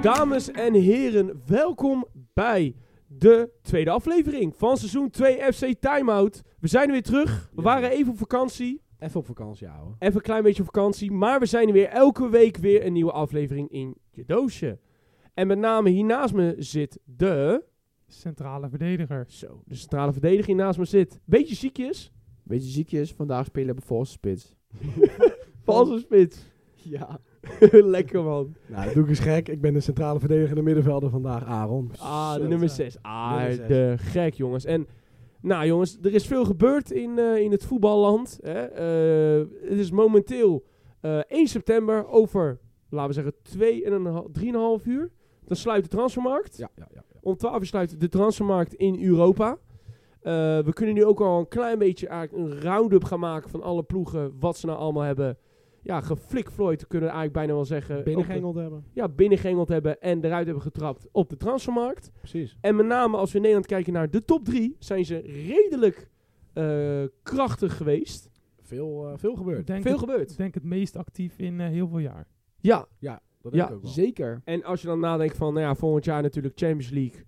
Dames en heren, welkom bij de tweede aflevering van seizoen 2 FC Timeout. We zijn weer terug. We Ja. waren even op vakantie. Even op vakantie houden. Even een klein beetje op vakantie. Maar we zijn er weer elke week weer een nieuwe aflevering in je doosje. En met name hier naast me zit de... Centrale verdediger. Zo, de centrale verdediging naast me zit. Beetje ziekjes. Beetje ziekjes, vandaag spelen we valse spits. Valse spits. Ja. Lekker man. Nou, doe ik eens gek. Ik ben de centrale verdediger en middenvelder vandaag, Aaron. Ah, de Zo, nummer ja. 6. Ah, Nummer zes. de gek jongens. En nou jongens, er is veel gebeurd in, eh, in het voetballand. Hè. Eh, het is momenteel eh 1 september over, laten we zeggen, 2,5 uur. Dan sluit de transfermarkt. Ja, ja, ja. Om 12 uur sluit de transfermarkt in Europa. Eh, we kunnen nu ook al een klein beetje eigenlijk een round-up gaan maken van alle ploegen. Wat ze nou allemaal hebben ja, geflikvlooid, kunnen we eigenlijk bijna wel zeggen. Op Binnengengeld hebben. de- Ja, binnengengeld hebben en eruit hebben getrapt op de transfermarkt. Precies. En met name als we in Nederland kijken naar de top 3, zijn ze redelijk eh, krachtig geweest. Veel, eh, veel Ik gebeurd. denk, Veel het, gebeurd. ik denk het meest actief in eh, heel veel jaar. Ja, Dat Ja. denk ik ook wel. Zeker. en als je dan nadenkt van, nou ja, volgend jaar natuurlijk Champions League.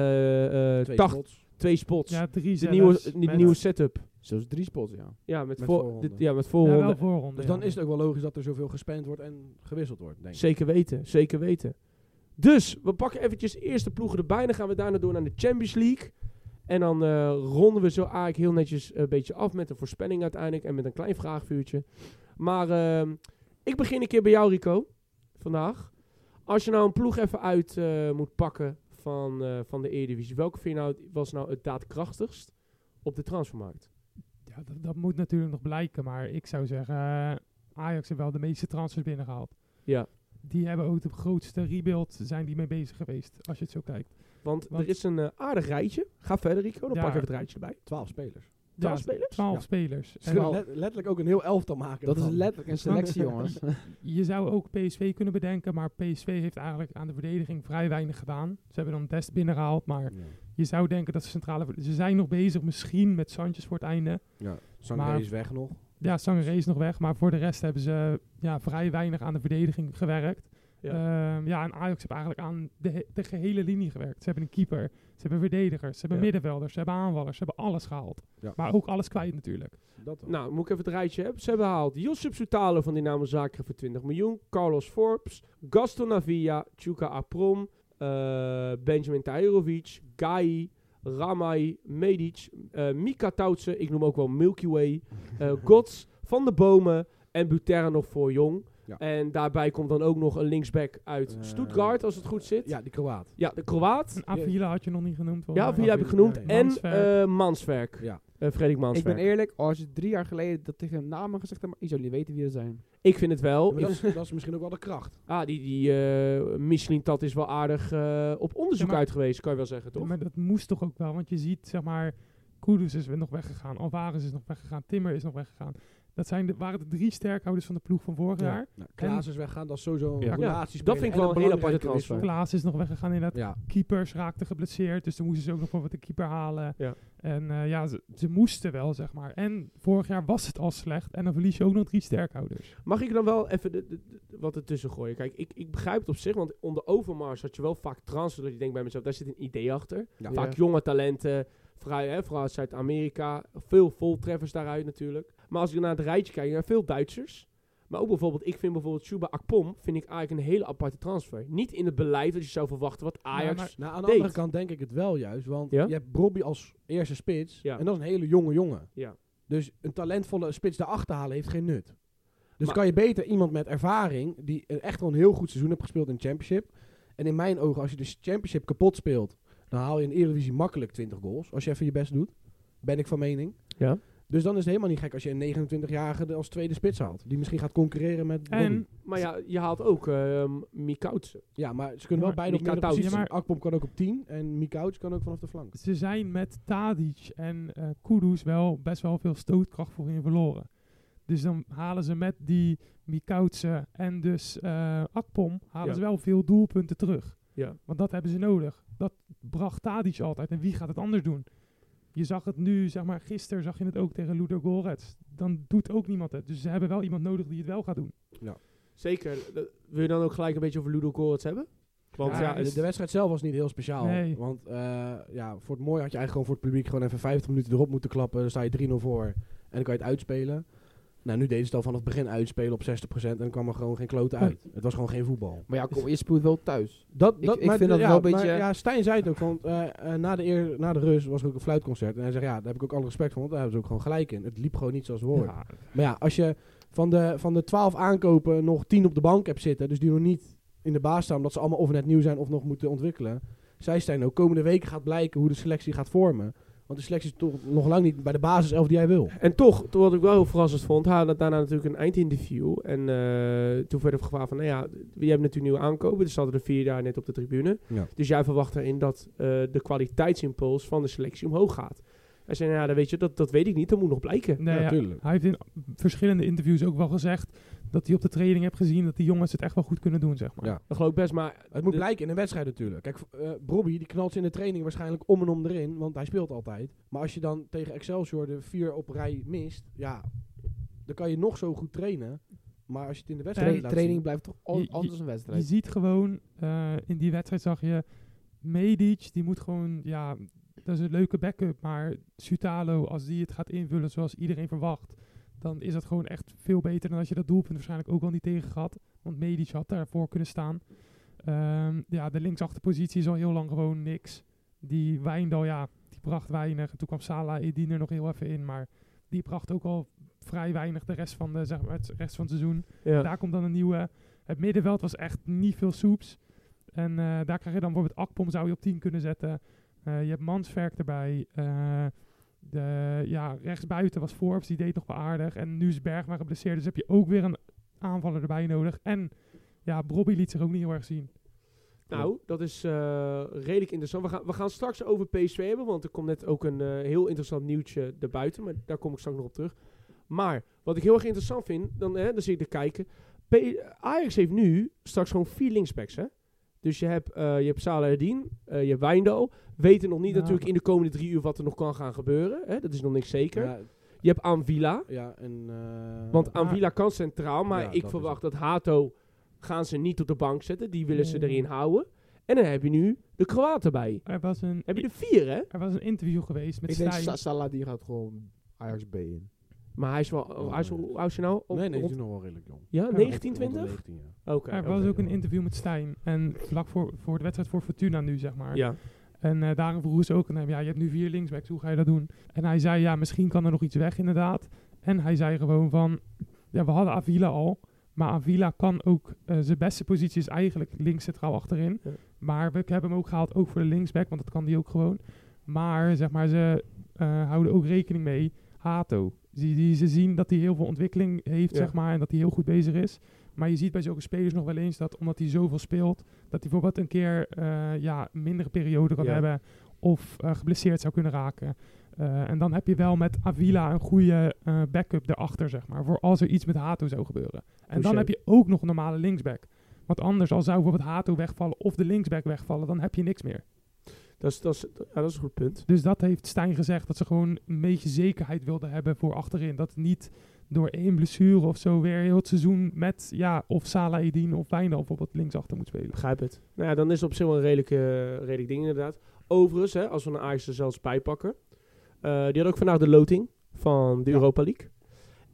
eh, eh, Twee tacht- spots. twee spots. Ja, drie de zelfs. nieuwe, de Met- nieuwe setup. Zelfs drie spots, ja. Ja, met, Met voor, voorronde. dit- ja, met Ja, voorronde. wel voorronde. Dus dan ja. is het ook wel logisch dat er zoveel gespend wordt en gewisseld wordt, denk ik. zeker weten, zeker weten. Dus, we pakken eventjes eerst de ploegen erbij. Dan gaan we daarna door naar de Champions League. En dan eh, ronden we zo eigenlijk heel netjes een beetje af met een voorspelling uiteindelijk. En met een klein vraagvuurtje. Maar ehm, ik begin een keer bij jou Rico, vandaag. Als je nou een ploeg even uit eh, moet pakken van, eh, van de Eredivisie. Welke vind je nou, was nou het daadkrachtigst op de transfermarkt? Ja, dat, dat moet natuurlijk nog blijken, maar ik zou zeggen, eh, Ajax heeft wel de meeste transfers binnengehaald. Ja. Die hebben ook de grootste rebuild, zijn die mee bezig geweest, als je het zo kijkt. Want, Want- er is een eh, aardig rijtje. Ga verder Rico, dan Ja. pak ik even het rijtje erbij. Twaalf spelers. Twaalf Ja, spelers? Twaalf Ja. spelers. Ze En kunnen let- letterlijk ook een heel elftal maken. Dat is ervan. letterlijk een selectie, jongens. je zou ook PSV kunnen bedenken, maar PSV heeft eigenlijk aan de verdediging vrij weinig gedaan. Ze hebben dan Dest binnengehaald, maar Ja. je zou denken dat ze centrale... verd- Ze zijn nog bezig misschien met Sanchez voor het einde. Ja. Maar- Sangaré is weg nog. Ja, Sangaré is nog weg, maar voor de rest hebben ze ja, vrij weinig aan de verdediging gewerkt. Ja, ja en Ajax heeft eigenlijk aan de, he- de gehele linie gewerkt. Ze hebben een keeper, ze hebben verdedigers, ze hebben Ja. middenvelders, ze hebben aanvallers, ze hebben alles gehaald. Ja. Maar ook alles kwijt natuurlijk. Dat wel. Nou, moet ik even het rijtje hebben. Ze hebben gehaald Josip Soutalo van Dynamo Zagreb voor 20 miljoen. Carlos Forbes, Gaston Navia, Chuka Aprom, eh, Benjamin Tahirovic, Gai, Ramai, Medic, eh, Mika Tautse, ik noem ook wel Milky Way, eh, Gods, Van de Bomen en Butera nog voor Jong. Ja. En daarbij komt dan ook nog een linksback uit Eh, Stuttgart, als het goed zit. Ja, Ja, die Kroaat. de Kroaat. En Avila had je nog niet genoemd. volgens Ja, mij. wie heb ik genoemd. Ja, ja. En Manswerk. eh, Manswerk. Oh, Eh Ja. Frederik ik ben e- Manswerk. Ik, eerlijk, als je drie jaar geleden dat tegen namen gezegd hebt, maar je zou niet weten wie er zijn. vind het wel. Ja, maar dat, is, dat is misschien ook wel de kracht. Ah, die, die eh Michelin Tat is wel aardig eh, op onderzoek Ja, maar- uit geweest, kan je wel zeggen, toch? Maar dat moest toch ook wel, want je ziet zeg maar, Kudus is weer nog weggegaan, Alvarez is nog weggegaan, Timmer is nog weggegaan. Dat zijn de, waren de drie sterkhouders van de ploeg van vorig jaar. Nou, Klaas is weggaan, dat is sowieso een Ja. relatiespeler dat vind ik en wel een hele aparte belangrijke transfer. wissel. Klaas is nog weggegaan inderdaad. Ja, keepers raakten geblesseerd. Dus toen moesten ze ook nog voor wat de keeper halen. Ja. En eh, ja, ze, ze moesten wel, zeg maar. En vorig jaar was het al slecht. En dan verlies je ook nog drie sterkhouders. Mag ik dan wel even de, de- de- wat ertussen gooien? Kijk, ik, ik begrijp het op zich, want onder Overmars had je wel vaak transfer. Dat je denkt bij mezelf, daar zit een idee achter. Ja. Vaak jonge talenten, vrij, hè, vooral uit Zuid-Amerika. Veel voltreffers daaruit natuurlijk. Maar als ik naar het rijtje kijk, ja, veel Duitsers. Maar ook bijvoorbeeld, ik vind bijvoorbeeld Chuba Akpom, vind ik eigenlijk een hele aparte transfer. Niet in het beleid dat je zou verwachten wat Ajax... maar- Nou, aan de deed. andere kant denk ik het wel juist. Want Ja? je hebt Robbie als eerste spits. Ja. En dat is een hele jonge jongen. Ja. Dus een talentvolle spits daarachter halen heeft geen nut. Dus Maar- kan je beter iemand met ervaring, die een- echt wel een heel goed seizoen heeft gespeeld in de championship. En in mijn ogen, als je de championship kapot speelt, dan haal je in de Eredivisie makkelijk 20 goals. Als je even je best doet, ben ik van mening. Ja. Dus dan is het helemaal niet gek als je een 29-jarige er als tweede spits haalt. Die misschien gaat concurreren met Robbie. En Maar ja, je haalt ook ehm Mikautse. Ja, maar ze kunnen Ja, wel beide op Mika meerdere Taus. posities. Ja, maar- Akpom kan ook op 10 en Mikouts kan ook vanaf de flank. ze zijn met Tadic en eh Kudus wel best wel veel stootkracht voor in verloren. Dus dan halen ze met die Mikautse en dus eh Akpom... halen Ja. ze wel veel doelpunten terug. Ja. Want dat hebben ze nodig. Dat bracht Tadic altijd. En wie gaat het anders doen? Je zag het nu, zeg maar, gisteren zag je het ook tegen Ludo Goretz. Dan doet ook niemand het. Dus ze hebben wel iemand nodig die het wel gaat doen. Zeker. Dat- Wil je dan ook gelijk een beetje over Ludo Gorits hebben? Want Ja, ja, is- het- de, de wedstrijd zelf was niet heel speciaal. Nee. Want eh, ja, voor het mooi had je eigenlijk gewoon voor het publiek gewoon even 50 minuten erop moeten klappen. Dan sta je 3-0 voor en dan kan je het uitspelen. Nou, nu deden ze het al vanaf het begin uitspelen op 60% en dan kwam er gewoon geen klote uit. Het was gewoon geen voetbal. Maar ja, kom, je speelt wel thuis. Dat, Ik- dat, ik maar vind de- dat ja, wel een maar beetje- ja, Stijn zei het ook, want eh, eh, na, de eer, na de rust was er ook een fluitconcert. En hij zegt, ja, daar heb ik ook alle respect voor, want daar hebben ze ook gewoon gelijk in. Het liep gewoon niet zoals het hoort. Ja, Maar ja, als je van de, van de 12 aankopen nog 10 op de bank hebt zitten, dus die nog niet in de baas staan, omdat ze allemaal of net nieuw zijn of nog moeten ontwikkelen. Zij Stijn ook, komende weken gaat blijken hoe de selectie gaat vormen. Want de selectie is toch nog lang niet bij de basis 11 die jij wil. En toch, toen wat ik wel heel verrassend vond, hij had daarna natuurlijk een eindinterview. En eh, toen werd er gevraagd van, nou ja, je hebt natuurlijk nieuwe aankopen. Er zaten er vier daar net op de tribune. Ja. Dus jij verwacht erin dat eh, de kwaliteitsimpuls van de selectie omhoog gaat. Hij zei, nou ja, dat weet, je, dat, dat weet ik niet, dat moet nog blijken. nee, ja, natuurlijk. hij heeft in verschillende interviews ook wel gezegd dat hij op de training heeft gezien dat die jongens het echt wel goed kunnen doen, zeg maar. Ja. Dat geloof ik best, maar... Het moet de- blijken in een wedstrijd natuurlijk. Kijk, eh Bobby die knalt ze in de training waarschijnlijk om en om erin, want hij speelt altijd. Maar als je dan tegen Excelsior de vier op rij mist, ja, dan kan je nog zo goed trainen. Maar als je het in de wedstrijd Tra- laat training blijft toch al- Je- je- anders een Je wedstrijd. ziet gewoon, eh, in die wedstrijd zag je Medic, die moet gewoon, ja, dat is een leuke backup. Maar Sutalo, als die het gaat invullen zoals iedereen verwacht, dan is dat gewoon echt veel beter dan als je dat doelpunt waarschijnlijk ook al niet tegen had. Want Medic had daarvoor kunnen staan. Ehm, ja, de linksachterpositie is al heel lang gewoon niks. Die Wijndal, ja, die bracht weinig. En toen kwam Salah Edin er nog heel even in, maar die bracht ook al vrij weinig de rest van, de, zeg maar, het rest van het seizoen. Ja. Daar komt dan een nieuwe. Het middenveld was echt niet veel soeps. En eh, daar krijg je dan bijvoorbeeld Akpom zou je op 10 kunnen zetten. Eh, je hebt Mansverk erbij. Eh, de, ja, rechtsbuiten was Forbes, die deed nog wel aardig. En nu is Bergma geblesseerd, dus heb je ook weer een aanvaller erbij nodig. En ja, Bobby liet zich ook niet heel erg zien. Nou, dat is eh, redelijk interessant. We gaan, we gaan straks over PSV hebben, want er komt net ook een eh, heel interessant nieuwtje erbuiten. Maar daar kom ik straks nog op terug. Maar wat ik heel erg interessant vind, dan, hè, dan zit ik te kijken. P- Ajax heeft nu straks gewoon vier linksbacks, hè? Dus je hebt, eh je hebt Salah Eddin, eh, je hebt Wijndal. Weten nog niet Ja. natuurlijk in de komende drie uur wat er nog kan gaan gebeuren. Hè? Dat is nog niks zeker. Ja, Je hebt Anvila, ja, en, eh, want Ah. Anvila kan centraal. Maar Ja, dat ik is verwacht dat Hato gaan ze niet op de bank zetten. Die willen ze Nee. erin houden. En dan heb je nu de Kroaten bij. Er was een, Heb je er vier, hè? er was een interview geweest met Ik denk, Stijn. Sa- Salah die gaat gewoon Ajax B in. Maar hij is wel... oh, hij is, hoe oud is hij nou? Op- nee, nee, die rond- is nog wel redelijk jong. ja, Ja, 19, Rond de 20? 19, ja. Oké. er oké. was ook een ja. interview met Stijn. En vlak voor, voor de wedstrijd voor Fortuna nu, zeg maar. Ja. En eh, daarom vroegen ze ook aan hem, ja, je hebt nu vier linksbacks, hoe ga je dat doen? En hij zei, ja, misschien kan er nog iets weg inderdaad. En hij zei gewoon van, ja, we hadden Avila al, maar Avila kan ook, eh, zijn beste positie is eigenlijk links centraal achterin. Ja. Maar we hebben hem ook gehaald, ook voor de linksback, want dat kan die ook gewoon. Maar, zeg maar, ze eh, houden ook rekening mee, Hato. Die, die, ze zien dat hij heel veel ontwikkeling heeft, Ja. zeg maar, en dat hij heel goed bezig is. Maar je ziet bij zulke spelers nog wel eens dat, omdat hij zoveel speelt, dat hij bijvoorbeeld een keer eh, ja, een mindere periode kan Ja. hebben. Of eh, geblesseerd zou kunnen raken. Eh, en dan heb je wel met Avila een goede eh, backup erachter, zeg maar. Voor als er iets met Hato zou gebeuren. En dan Touché. heb je ook nog een normale linksback. Want anders, al zou bijvoorbeeld Hato wegvallen of de linksback wegvallen, dan heb je niks meer. Dat, is, dat, is, ja, dat is een goed punt. Dus dat heeft Stijn gezegd, dat ze gewoon een beetje zekerheid wilden hebben voor achterin. Dat het niet door één blessure of zo weer heel het seizoen met, ja, of Salah Edin of Wijndal bijvoorbeeld linksachter moet spelen. Begrijp het. Nou ja, dan is het op zich wel een redelijk, eh, redelijk ding inderdaad. Overigens, hè, als we een Ajax er zelfs bij pakken. eh, die had ook vandaag de loting van de Europa League.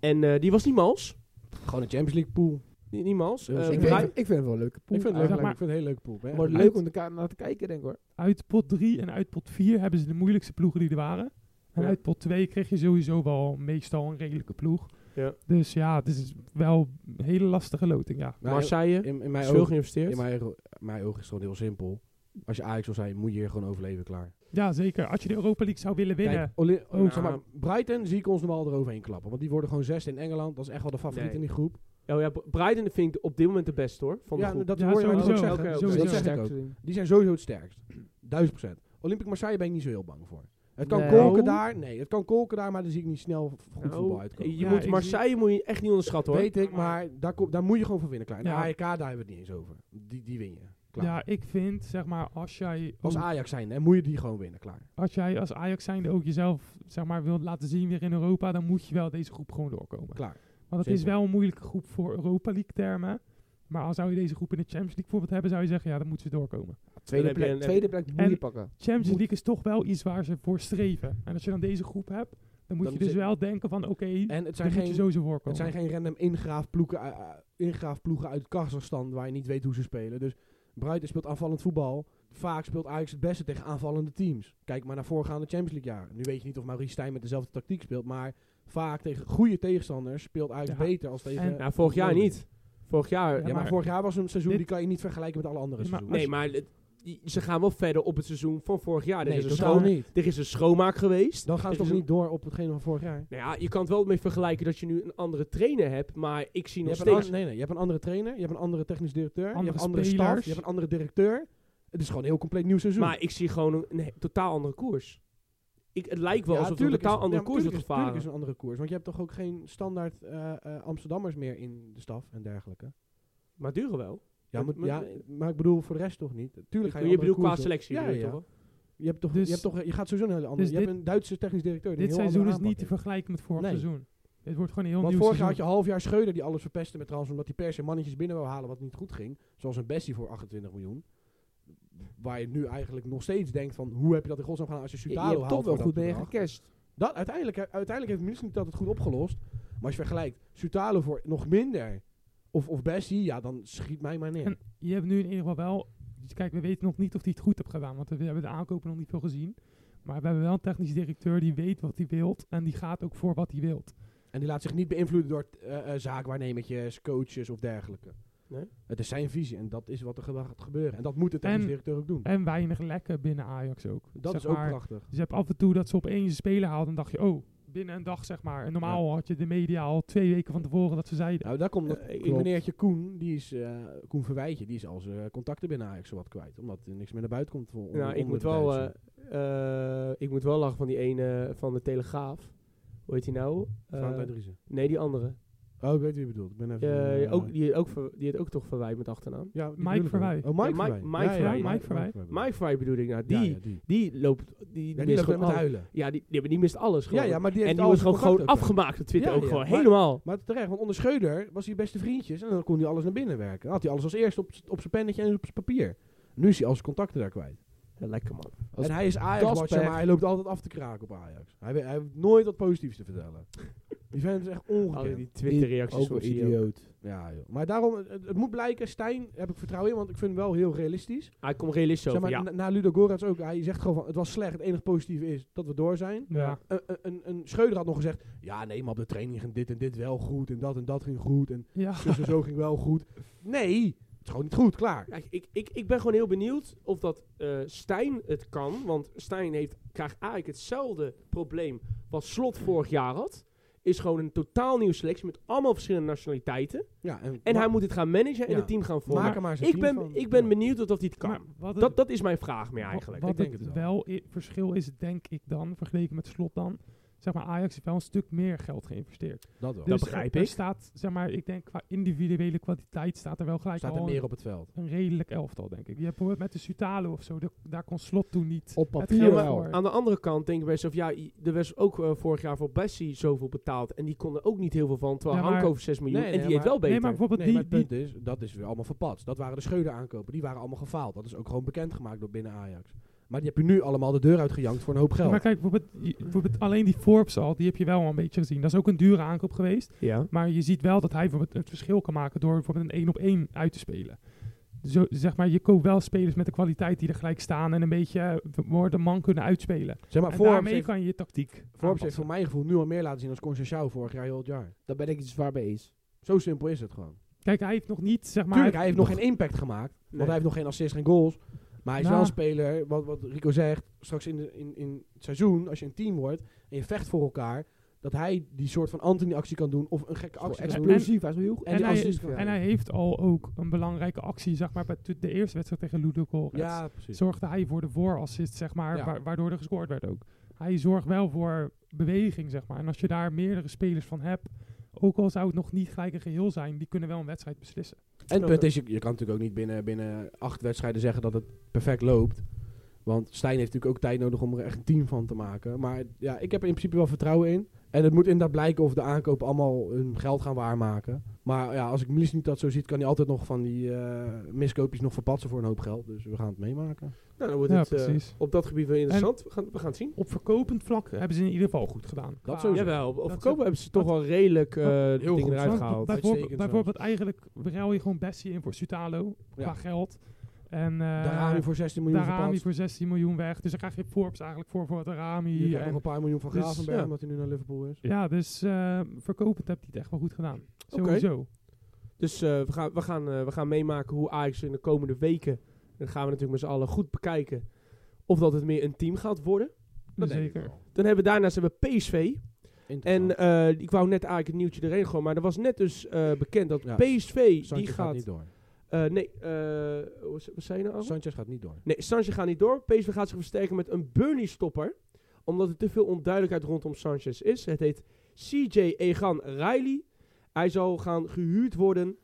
En eh, die was niet mals. Gewoon een Champions League pool. Niet, niet mals. Ja, Eh, zeker. ik, Vrij- vind, ik vind het wel een leuke pool. ik vind het leuk, eigenlijk. eigenlijk. leuk, ik vind het een hele leuke pool. Wordt Ja. leuk om elkaar naar te kijken, denk ik hoor. uit pot 3 en uit pot 4 hebben ze de moeilijkste ploegen die er waren. En Ja. uit pot 2 kreeg je sowieso wel meestal een redelijke ploeg. Ja. Dus ja, het is wel een hele lastige loting, ja. Maar Marseille, in, in is mijn veel ogen, geïnvesteerd. in mijn, ogen- mijn ogen is het gewoon heel simpel. Als je Ajax wil zijn, moet je hier gewoon overleven, klaar. Ja, zeker. Als je de Europa League zou willen Kijk, winnen, Oli- oh, Nou. zeg maar, Brighton zie ik ons normaal eroverheen klappen. Want die worden gewoon zesde in Engeland. Dat is echt wel de favoriet Nee. in die groep. Oh ja, Br- Breiden vind ik op dit moment de beste hoor. Van de ja, groep. dat Ja, hoor je mij sowieso. ook zeggen. Oké, oké. Dat Sowieso. zeg ik ook. Die zijn sowieso het sterkst. Duizend procent. Olympic Marseille ben ik niet zo heel bang voor. Het kan Nee. kolken Nou. daar. Nee, het kan kolken daar, maar daar zie ik niet snel v- goed Nou, voetbal uitkomen. Je Ja, ik moet zie- Marseille moet je echt niet onderschatten hoor. Weet ik, maar daar, kom, daar moet je gewoon van winnen, klaar. Nou, En de Ja. AEK, daar hebben we het niet eens over. Die, die win je, klaar. ja, ik vind, zeg maar, als jij Als ook- Ajax zijn, hè, moet je die gewoon winnen, klaar. als jij als Ajax zijnde ook jezelf, zeg maar, wilt laten zien weer in Europa, dan moet je wel deze groep gewoon doorkomen. Klaar. Want het is Zeker. wel een moeilijke groep voor Europa League termen. Maar al zou je deze groep in de Champions League bijvoorbeeld hebben, zou je zeggen, ja, dan moeten ze doorkomen. Tweede heb je plek, een- tweede plek moet je pakken. Champions Moet. League is toch wel iets waar ze voor streven. En als je dan deze groep hebt, dan moet Dan je dus zit- wel denken van, oké, En dan het zijn, moet je geen, sowieso voorkomen. het zijn geen random ingraafploegen, eh, eh, ingraafploegen uit Kazachstan waar je niet weet hoe ze spelen. Dus Bruiten speelt aanvallend voetbal. Vaak speelt Ajax het beste tegen aanvallende teams. Kijk maar naar voorgaande Champions League jaren. Nu weet je niet of Maurice Stijn met dezelfde tactiek speelt. Maar vaak tegen goede tegenstanders speelt Ajax Ja. beter als tegen... En- Nou, vorig jaar niet. Vorig jaar... Ja, maar, maar- vorig jaar was een seizoen Dit- die kan je niet vergelijken met alle andere Ja, maar seizoenen. nee, maar het- die- ze gaan wel verder op het seizoen van vorig jaar. Er, nee, is, een totaal schoon, niet. er is een schoonmaak geweest. Dan gaan ze Er is toch een- niet door op hetgene van vorig jaar. Nou ja, je kan het wel mee vergelijken dat je nu een andere trainer hebt. Maar ik zie Je nog hebt, een steeds... an- nee, nee, je hebt een andere trainer, je hebt een andere technisch directeur, je Andere hebt andere spelers. staf, je hebt een andere directeur. Het is gewoon een heel compleet nieuw seizoen. Maar ik zie gewoon een, een he- totaal andere koers. Ik, het lijkt wel Ja, alsof er een tuurlijk is- totaal andere ja, maar koers wordt tuurlijk is- gevaren. tuurlijk is een andere koers, want je hebt toch ook geen standaard eh, eh, Amsterdammers meer in de staf en dergelijke. Maar duren wel. Ja, Ja, maar, maar- ja, maar ik bedoel voor de rest toch niet. Tuurlijk ga Je, je, andere bedoelt qua koers op. selectie, Ja, bedoel je ja. toch? Je, hebt toch, Dus- je, hebt toch, je gaat sowieso een hele andere. dus je hebt dit- een Duitse technisch directeur. Die Dit een heel seizoen is andere niet te aanpak vergelijken met vorig Nee. seizoen. Dit wordt gewoon een heel Want nieuw vorig seizoen. jaar had je half jaar Schreuder die alles verpestte met transfer. Omdat hij per se mannetjes binnen wil halen wat niet goed ging. Zoals een Bessie voor 28 miljoen. Waar je nu eigenlijk nog steeds denkt van... Hoe heb je dat in godsnaam gedaan als je Je, je Sutalo hebt haalt toch wel voor dat goed mee bedrag? gecashed. dat, uiteindelijk, eh, uiteindelijk heeft Minus niet dat het goed opgelost. Maar als je vergelijkt Sutalo voor nog minder... Of, of Bessie, ja, dan schiet mij maar neer. En je hebt nu in ieder geval wel... Kijk, we weten nog niet of hij het goed heeft gedaan, want we hebben de aankopen nog niet veel gezien. Maar we hebben wel een technisch directeur die weet wat hij wilt en die gaat ook voor wat hij wilt. En die laat zich niet beïnvloeden door eh eh, zaakwaarnemertjes, coaches of dergelijke. Nee? Het is zijn visie en dat is wat er ge- gaat gebeuren. En dat moet de technisch En- directeur ook doen. En weinig lekken binnen Ajax ook. dat Zeg is ook maar, prachtig. Dus je hebt af en toe dat ze opeens een speler haalden en dacht je, oh, binnen een dag zeg maar. En normaal had je de media al twee weken van tevoren dat ze zeiden. Nou, daar komt nog Eh, een klopt. meneertje Koen, die is, eh, Koen Verwijtje, die is al zijn eh, contacten binnen Ajax zowat kwijt. Omdat er niks meer naar buiten komt. Voor, onder- Nou, ik onder moet, de wel, Duitsers. eh, eh, ik moet wel lachen van die ene van de Telegraaf. Hoe heet die nou? Eh, Frank Andriessen. nee, die andere. Oh, ik weet wie je bedoelt. Ik ben even... Eh, eh, ook, die, ook ver- die het ook toch verwijt met achternaam. ja, die Mike bedoel ik wel. Verwij. Oh, Mike Ja, Mike- Verwij. Mike Verwij. Mike Verwij. Mike Verwijt bedoel ik nou. Die, Ja, ja, die. die loopt... Die, Ja, die mist loopt gewoon met alles. huilen. Ja, die, die, die mist alles Ja, gewoon. ja, maar die heeft en die al wordt zijn gewoon, gewoon contract ook. afgemaakt op Twitter. Ja, ook ja, gewoon maar- helemaal. Maar terecht, want onder Scheuder was hij beste vriendjes en dan kon hij alles naar binnen werken. Dan had hij alles als eerst op, z'n- op zijn pennetje en op zijn papier. Nu is hij al zijn contacten daar kwijt. Ja, lekker man. Als en hij is Ajax-watcher, Kasper- maar hij loopt altijd af te kraken op Ajax. Hij, we- hij heeft nooit wat positiefs te vertellen. Die vent is echt Al ongekend. die Twitter-reacties Ook soms een zie je ook. idioot. Ja, joh. Maar daarom, het, het moet blijken, Stijn heb ik vertrouwen in, want ik vind hem wel heel realistisch. Hij komt realistisch Zeg over, maar, ja. na, na Ludo Gorats ook, hij zegt gewoon van, het was slecht, het enige positieve is dat we door zijn. Ja, Een, een- een, een Schreuder had nog gezegd, ja nee, maar op de training ging dit en dit wel goed, en dat en dat ging goed, en ja. dus en zo ging wel goed. Nee, het is gewoon niet goed, klaar. Ja, ik, ik, ik ben gewoon heel benieuwd of dat eh, Stijn het kan. Want Stijn heeft, krijgt eigenlijk hetzelfde probleem wat Slot vorig jaar had. Is gewoon een totaal nieuwe selectie met allemaal verschillende nationaliteiten. Ja, en En ma- hij moet het gaan managen en Ja. het team gaan vormen. maak er maar zijn ik team van. ben, ik ben Ja. benieuwd of dat hij het Maar kan. wat het- Dat, dat is mijn vraag meer Wa- eigenlijk. Wat Ik denk het, het wel. wel i- verschil is, denk ik dan, vergeleken met slot dan. Zeg maar, Ajax heeft wel een stuk meer geld geïnvesteerd. Dat wel. Dus- begrijp er, er ik. staat, zeg maar, ik denk qua individuele kwaliteit staat er wel gelijk staat al er een- meer op het veld. een redelijk elftal, denk ik. Je hebt bijvoorbeeld met de Sutalo of zo, de- daar kon slot toen niet. Op het papier geld wel. voor. Aan de andere kant denk ik best of ja, i- er was ook eh, vorig jaar voor Bessie zoveel betaald. En die kon er ook niet heel veel van. Terwijl Ja, ja, maar- over 6 miljoen. Nee, en nee, die heeft maar- wel beter. Nee, maar bijvoorbeeld Nee, maar die, het die, punt is, dat is weer allemaal verpatst. Dat waren de scheuren aankopen, die waren allemaal gefaald. Dat is ook gewoon bekendgemaakt door binnen Ajax. Maar die heb je nu allemaal de deur uitgejankt voor een hoop geld. Maar kijk, bijvoorbeeld, je- bijvoorbeeld alleen die Forbes al, die heb je wel al een beetje gezien. Dat is ook een dure aankoop geweest. ja. Maar je ziet wel dat hij bijvoorbeeld het verschil kan maken door bijvoorbeeld een 1 op 1 uit te spelen. Zo, zeg maar, je koopt wel spelers met de kwaliteit die er gelijk staan en een beetje eh, worden man kunnen uitspelen. zeg maar, en Forbes daarmee heeft, kan je je tactiek Forbes heeft aanpassen. voor mijn gevoel nu al meer laten zien als Conceição vorig jaar heel het jaar. Daar ben ik het zwaar mee eens. Zo simpel is het gewoon. Kijk, hij heeft nog niet, zeg maar... Tuurlijk, hij heeft nog geen impact gemaakt. Want hij heeft nog geen assist, geen goals. Maar hij is Nou. wel een speler, wat, wat Rico zegt, straks in, de, in, in het seizoen, als je een team wordt en je vecht voor elkaar, dat hij die soort van Anthony-actie kan doen of een gekke Hij is actie wel kan doen. explosief, hij is wel heel goed. En En die hij- assist kan En hij heeft al ook een belangrijke actie, zeg maar, bij t- de eerste wedstrijd tegen Ludo Gorets. Ja, precies. Zorgde hij voor de voorassist, zeg maar, Ja. wa- waardoor er gescoord werd ook. Hij zorgt wel voor beweging, zeg maar. En als je daar meerdere spelers van hebt, ook al zou het nog niet gelijk een geheel zijn, die kunnen wel een wedstrijd beslissen. En het punt is, je, je kan natuurlijk ook niet binnen, binnen acht wedstrijden zeggen dat het perfect loopt. Want Stijn heeft natuurlijk ook tijd nodig om er echt een team van te maken. Maar ja, ik heb er in principe wel vertrouwen in. En het moet inderdaad blijken of de aankopen allemaal hun geld gaan waarmaken. Maar ja, als ik Mies niet dat zo ziet, kan hij altijd nog van die eh, miskoopjes nog verpatsen voor een hoop geld. Dus we gaan het meemaken. Nou, dan wordt Ja, het eh, precies. op dat gebied wel interessant. We gaan, we gaan het zien. Op verkopend vlak hebben ze in ieder geval goed gedaan. Dat zo sowieso. Jawel, op Oh, Dat- verkopen hebben ze toch dat- wel redelijk eh, dingen goed. eruit gehaald. dat- Bijvoorbeeld, Uitstekend bijvoorbeeld eigenlijk ruil je gewoon Bessie in voor Sutalo qua Ja. geld. En eh Daaraan voor 16 miljoen Darami verpatst. voor 16 miljoen weg. Dus dan krijg je Forbes eigenlijk voor voor Je Darami. krijgt En- nog een paar miljoen van Dus, Gravenberg, ja. omdat hij nu naar Liverpool is. ja, dus eh, verkopend heb je het echt wel goed gedaan. Sowieso. Dus eh, we, gaan, we, gaan, eh, we gaan meemaken hoe Ajax in de komende weken, en dat gaan we natuurlijk met z'n allen goed bekijken, of dat het meer een team gaat worden. Zeker. Dan hebben we daarnaast hebben we PSV. Interessant. En eh, ik wou net eigenlijk het nieuwtje erin gooien, maar er was net dus eh, bekend dat Ja, PSV, Sanchez die gaat, gaat... niet door. eh, nee, eh, wat ze- wat zei je nou? Al? Sanchez gaat niet door. Nee, Sanchez gaat niet door. PSV gaat zich versterken met een Burnley-stopper, omdat er te veel onduidelijkheid rondom Sanchez is. Het heet CJ Egan Riley. Hij zal gaan gehuurd worden.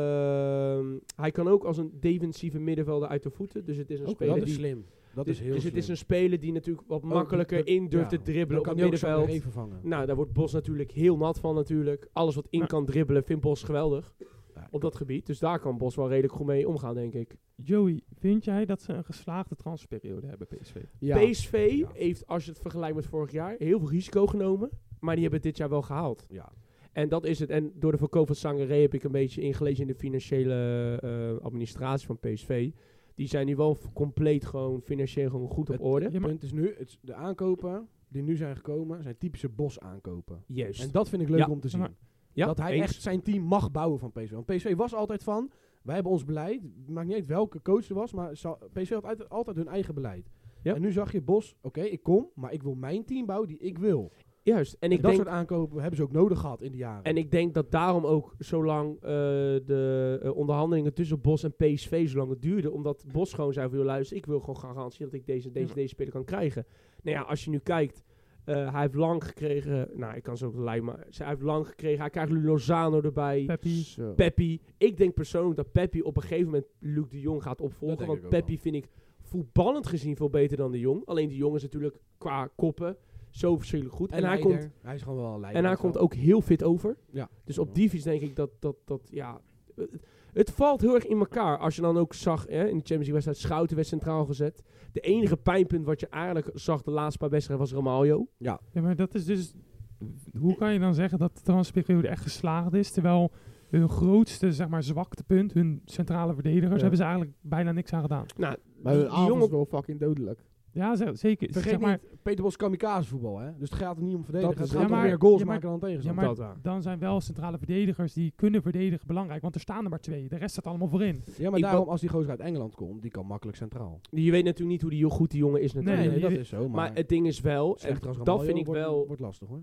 Ehm, hij kan ook als een defensieve middenvelder uit de voeten. Dus het is een Ook speler dat is die... slim. Dat dus is heel dus slim. Oh, het is een speler die natuurlijk wat makkelijker dat- in durft ja, te dribbelen Dan op kan het hij ook zo middenveld. even vangen. Nou, daar wordt Bos natuurlijk heel nat van natuurlijk. Alles wat in Maar- kan dribbelen vindt Bos geweldig Ja, op dat gebied. Dus daar kan Bos wel redelijk goed mee omgaan, denk ik. Joey, vind jij dat ze een geslaagde transferperiode hebben, PSV? ja. PSV Ja. heeft, als je het vergelijkt met vorig jaar, heel veel risico genomen. Maar die hebben het dit jaar wel gehaald. Ja. En dat is het. En door de verkoop van Sangaré heb ik een beetje ingelezen in de financiële eh, administratie van PSV. Die zijn nu wel f- compleet gewoon financieel gewoon goed op Het- orde. Het punt is nu, het, de aankopen die nu zijn gekomen, zijn typische bos aankopen. Juist. En dat vind ik leuk Ja. om te zien. Maar- ja, dat hij eens. echt zijn team mag bouwen van PSV. Want PSV was altijd van, wij hebben ons beleid. Maakt niet uit welke coach er was, maar zou- PSV had uit- altijd hun eigen beleid. Ja. En nu zag je Bos, oké, ik kom, maar ik wil mijn team bouwen die ik wil. Juist. En En ik dat denk soort aankopen hebben ze ook nodig gehad in de jaren. En ik denk dat daarom ook zolang eh, de eh, onderhandelingen tussen Bos en PSV zo lang het duurde. Omdat Bos gewoon zei van, joh, luister, ik wil gewoon garantie dat ik deze, deze, Ja. deze speler kan krijgen. Nou ja, als je nu kijkt, eh, hij heeft lang gekregen, nou ik kan ze ook lijmen, maar hij heeft lang gekregen. Hij krijgt nu Lozano erbij, Peppi, Zo. Peppi. Ik denk persoonlijk dat Peppi op een gegeven moment Luc de Jong gaat opvolgen. Dat denk ik Want ook Peppi vind ik voetballend gezien veel beter dan de Jong. Alleen de Jong is natuurlijk qua koppen zo verschrikkelijk goed. En, hij leider. komt... Hij is gewoon wel een leider. En hij komt ook heel fit over. Ja. Dus op die fiets denk ik dat, dat, dat ja... Het, het valt heel erg in elkaar. Als je dan ook zag, hè, in de Champions League wedstrijd, Schouten werd centraal gezet. De enige pijnpunt wat je eigenlijk zag de laatste paar wedstrijden was Ramaljo. ja, maar dat is dus... Hoe kan je dan zeggen dat de transferperiode echt geslaagd is, terwijl hun grootste, zeg maar, zwaktepunt, hun centrale verdedigers, Ja. hebben ze eigenlijk bijna niks aan gedaan. Nou, Maar die- hun die avond jongen- is wel fucking dodelijk. Ja, ze- zeker. Vergeet zeg maar, niet, Peter Bos kamikaze voetbal, hè? Dus het gaat er niet om verdedigen. Dat Het is gaat het. om Ja, maar- meer goals ja, maar- maken dan ja, tegenstander. maar dat waar. dan zijn wel centrale verdedigers die kunnen verdedigen belangrijk, want er staan er maar twee. De rest staat allemaal voorin. Ja, maar Ik daarom, wou- als die gozer uit Engeland komt, die kan makkelijk centraal. Je weet natuurlijk niet hoe, die, hoe goed die jongen is natuurlijk. Nee, Nee, nee, je dat weet- is zo. Maar, maar, het ding is wel, en slechter als dat Ramaljo vind ik wordt- wel... Wordt lastig hoor.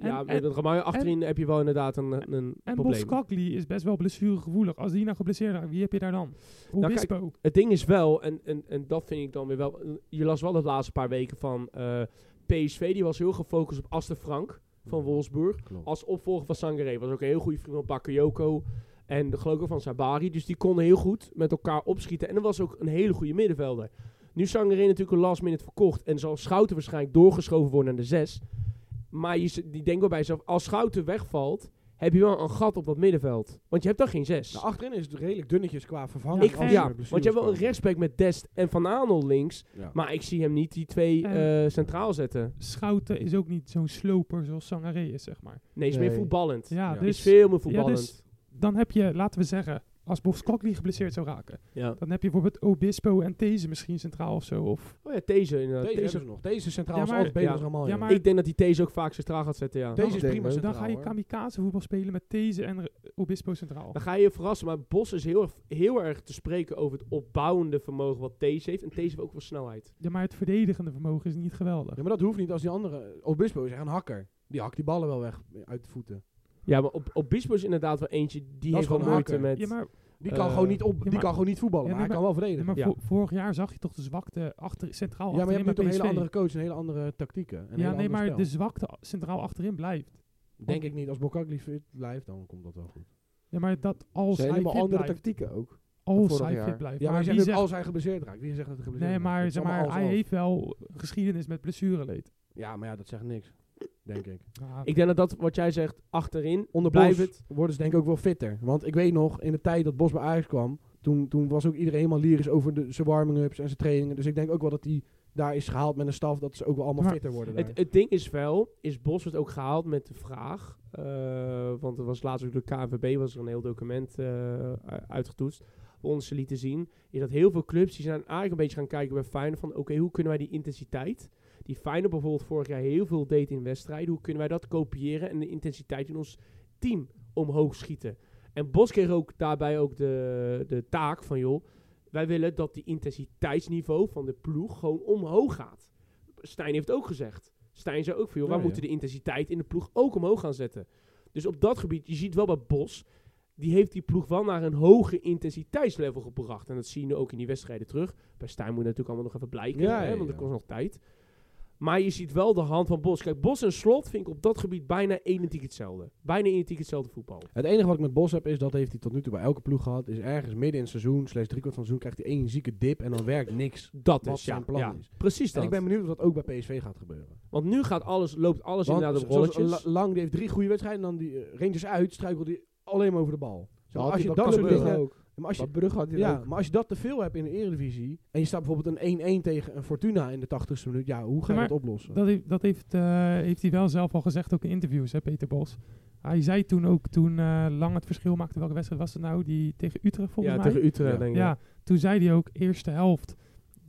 ja, En- met en- Ramaljo achterin heb je wel inderdaad een, een En probleem. Boskakli is best wel blessuregevoelig. Als die nou geblesseerd raakt, wie heb je daar dan? Obispo. Het ding is wel, en, en, en dat vind ik dan weer wel. Je las wel de laatste paar weken van eh, PSV, die was heel gefocust op Aster Frank van Wolfsburg. Klopt. Als opvolger van Sangaré was ook een heel goede vriend van Bakayoko. En de geloof ik ook van Sabari. Dus die konden heel goed met elkaar opschieten. En dat was ook een hele goede middenvelder. Nu is Sangaré natuurlijk een last minute verkocht. En zal Schouten waarschijnlijk doorgeschoven worden naar de zes. Maar je, z- die denkt wel bij jezelf, als Schouten wegvalt, heb je wel een gat op dat middenveld. Want je hebt dan geen zes. Nou, achterin is het redelijk dunnetjes qua vervanging. Ja, Ik als vind, er ja, want je hebt wel een rechtsback met Dest en Van Aanel links. Maar ik zie hem niet die twee En- eh, centraal zetten. Schouten is ook niet zo'n sloper zoals Sangaré is, zeg maar. Nee, is meer Nee. voetballend. Ja, Ja. Is dus veel meer voetballend. Ja, dus- dan heb je, laten we zeggen, als Boskakli geblesseerd zou raken, dan heb je bijvoorbeeld Obispo en These misschien centraal of zo. Of, Oh ja, deze inderdaad. Deze, Deze- hebben ze nog. Deze centraal Ja, is maar- altijd beter ja. dan Ramaljo. Ja, maar- ik denk dat hij deze ook vaak centraal gaat zetten, ja. deze is Dan prima ga centraal. dan ga je hoor. kamikaze voetbal spelen met These en R- Obispo centraal. Dan ga je je verrassen, maar Bos is heel, erg- heel erg te spreken over het opbouwende vermogen wat Thees heeft. En Thees heeft ook wel snelheid. Ja, maar het verdedigende vermogen is niet geweldig. Ja, maar dat hoeft niet als die andere. Obispo is echt een hakker. Die hakt die ballen wel weg uit de voeten. Ja, maar op, Obispo is inderdaad wel eentje die is heeft wel gewoon een moeite hakker. met... Ja, maar, Die kan, Eh, gewoon, niet op, ja, die maar- kan gewoon niet voetballen, Ja, maar hij maar- kan wel ja, verdedigen. maar Ja. vo- vorig jaar zag je toch de zwakte achter, centraal Ja, maar je hebt nu achterin toch een bij PSV. hele andere coach en hele andere tactieken. en een ja, heel nee, ander maar dus- de spel. zwakte a- centraal achterin blijft. Denk ik niet. Als Bokakli fit blijft, dan komt dat wel goed. Ja, maar dat Ze als zijn hij helemaal fit andere blijft. tactieken ook. als vorig hij jaar. fit blijft. Ja, maar je wie zegt zegt- dat als hij geblesseerd raakt. Wie zegt dat hij geblesseerd nee, raakt? maar, Het is zeg allemaal maar hij als-als. heeft wel geschiedenis met blessureleed. Ja, maar ja, dat zegt niks. Denk ik. Ja, Ik denk dat dat wat jij zegt achterin Onder blijft Bos het. worden ze denk ik ook wel fitter. Want ik weet nog, in de tijd dat Bos bij Ajax kwam, toen, toen was ook iedereen helemaal lyrisch over de, zijn warming-ups en zijn trainingen. Dus ik denk ook wel dat hij daar is gehaald met een staf, dat ze ook wel allemaal Maar fitter worden daar. Het, het ding is wel, is Bos het ook gehaald met de vraag, eh, want er was laatst ook door KNVB was er een heel document eh, u- uitgetoetst, waar ons ze lieten zien, is dat heel veel clubs die zijn eigenlijk een beetje gaan kijken bij Feyenoord van oké, hoe kunnen wij die intensiteit, die Feyenoord bijvoorbeeld vorig jaar heel veel deed in wedstrijden, hoe kunnen wij dat kopiëren en de intensiteit in ons team omhoog schieten. En Bos kreeg ook daarbij ook de, de taak van joh, wij willen dat die intensiteitsniveau van de ploeg gewoon omhoog gaat. Stijn heeft ook gezegd. Stijn zei ook van, joh, wij Oh, Ja, ja. moeten de intensiteit in de ploeg ook omhoog gaan zetten. Dus op dat gebied, je ziet wel bij Bos, die heeft die ploeg wel naar een hoger intensiteitslevel gebracht. En dat zie je nu ook in die wedstrijden terug. Bij Stijn moet natuurlijk allemaal nog even blijken, Ja, hè, ja, want er ja. kost nog tijd. Maar je ziet wel de hand van Bos. Kijk, Bos en Slot vind ik op dat gebied bijna identiek hetzelfde. Bijna identiek hetzelfde voetbal. Het enige wat ik met Bos heb is, dat heeft hij tot nu toe bij elke ploeg gehad, is ergens midden in het seizoen, slash driekwart van het seizoen, krijgt hij één zieke dip en dan werkt niks. Dat Wat is, ja, zijn plan ja, is. precies dat. En ik ben benieuwd of dat ook bij PSV gaat gebeuren. Want nu gaat alles, loopt alles Want inderdaad op zoals rolletjes. La- Lang die heeft drie goede wedstrijden en dan die eh, Rangers uit, struikelt hij alleen maar over de bal. Zo, Had als hij je dat dat kan soort gebeuren dingen... ook. Maar als je, Wat Brugge had hij ja, ook. maar als je dat te veel hebt in de Eredivisie en je staat bijvoorbeeld een 1-1 tegen een Fortuna in de 80ste minuut, ja, hoe ga je Ja, maar dat oplossen? Dat, heeft, dat heeft, eh, heeft hij wel zelf al gezegd, ook in interviews, hè, Peter Bos. Hij zei toen ook, toen eh, Lang het verschil maakte, welke wedstrijd was het nou? Die tegen Utrecht volgens ja, mij? tegen Utrecht Ja. denk ik. Ja, toen zei hij ook, eerste helft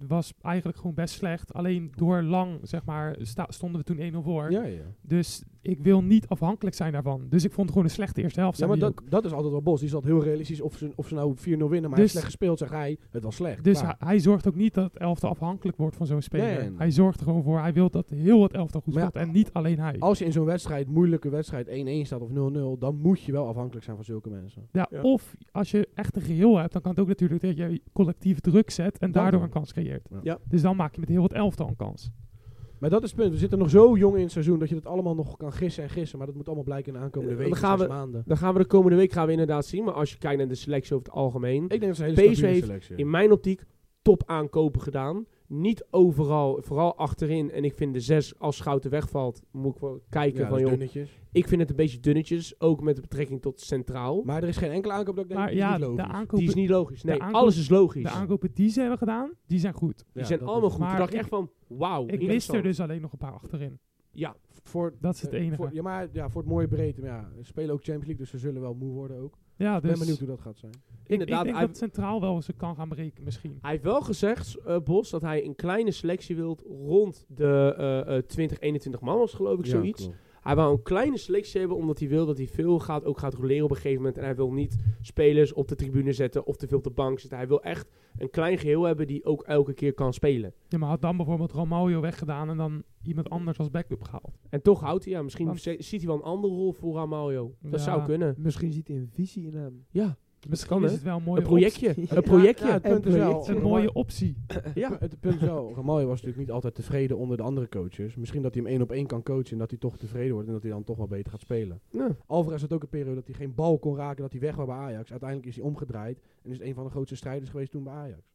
was eigenlijk gewoon best slecht. Alleen door Lang, zeg maar, sta- stonden we toen 1-0 voor. ja, ja. Dus ik wil niet afhankelijk zijn daarvan. Dus ik vond het gewoon een slechte eerste helft. ja, zei maar hij dat, dat is altijd wel Bos. Die is altijd heel realistisch of ze, of ze nou 4-0 winnen, maar hij heeft Dus- slecht gespeeld, zegt hij. Het was ook. slecht. Dus hij, klaar. hij zorgt ook niet dat het elftal afhankelijk wordt van zo'n speler. Nee. Hij zorgt er gewoon voor. Hij wil dat heel het elftal goed Maar ja, speelt. en niet alleen hij. Als je in zo'n wedstrijd, moeilijke wedstrijd, 1-1 staat of 0-0, dan moet je wel afhankelijk zijn van zulke mensen. Ja, Ja. Of als je echt een geheel hebt, dan kan het ook natuurlijk dat je collectief druk zet en Dan daardoor wel. een kans creëert. Ja. Ja. Dus dan maak je met heel het elftal een kans. Maar dat is het punt. We zitten nog zo jong in het seizoen dat je dat allemaal nog kan gissen en gissen. Maar dat moet allemaal blijken in de aankomende Eh, dan weken, gaan zes we- maanden. Dan gaan we de komende week gaan we inderdaad zien. Maar als je kijkt naar de selectie over het algemeen. Ik denk dat ze een hele PSV stabiele heeft selectie In mijn optiek top aankopen gedaan. Niet overal, vooral achterin. En ik vind de zes, als Schouten wegvalt, moet ik wel kijken ja, dat van is joh. dunnetjes. Ik vind het een beetje dunnetjes. Ook met de betrekking tot centraal. Maar er is geen enkele aankoop dat ik denk, Maar die is ja, niet de logisch. Die is aankopen, niet logisch. Nee, aankoop- alles is logisch. de aankopen die ze hebben gedaan, die zijn goed. Die Ja, zijn dat allemaal is- goed. Toen Maar dacht ik ik- echt van, wauw. Ik mis er dus alleen nog een paar achterin. Ja, Voor, Dat is het eh, enige. Voor, ja, maar ja, voor het mooie breedte. Maar ja, ze spelen ook Champions League, dus ze zullen wel moe worden ook. Ja, Ik dus ben benieuwd hoe dat gaat zijn. inderdaad. ik denk hij- dat centraal wel eens kan gaan berekenen misschien. Hij heeft wel gezegd, eh, Bos, dat hij een kleine selectie wilt rond de eh, eh, 20, 21 man was, geloof ik, zoiets. Hij wil een kleine selectie hebben, omdat hij wil dat hij veel gaat, ook gaat roleren op een gegeven moment. En hij wil niet spelers op de tribune zetten of te veel op de bank zitten. Hij wil echt een klein geheel hebben die ook elke keer kan spelen. Ja, maar had dan bijvoorbeeld Romario weggedaan en dan iemand anders als backup gehaald. En toch houdt hij, ja, misschien Want- ze- ziet hij wel een andere rol voor Ramaljo. Dat Ja. zou kunnen. Misschien ziet hij een visie in hem. Ja, Misschien kan, is hè? het wel een mooie een projectje. optie. Een projectje. Ja, het punt is wel. optie. Een mooie optie. Ja. Het punt is wel, Ramaljo was natuurlijk niet altijd tevreden onder de andere coaches. Misschien dat hij hem één op één kan coachen en dat hij toch tevreden wordt en dat hij dan toch wel beter gaat spelen. Ja. Alvarez had ook een periode dat hij geen bal kon raken, dat hij weg was bij Ajax. Uiteindelijk is hij omgedraaid en is een van de grootste strijders geweest toen bij Ajax.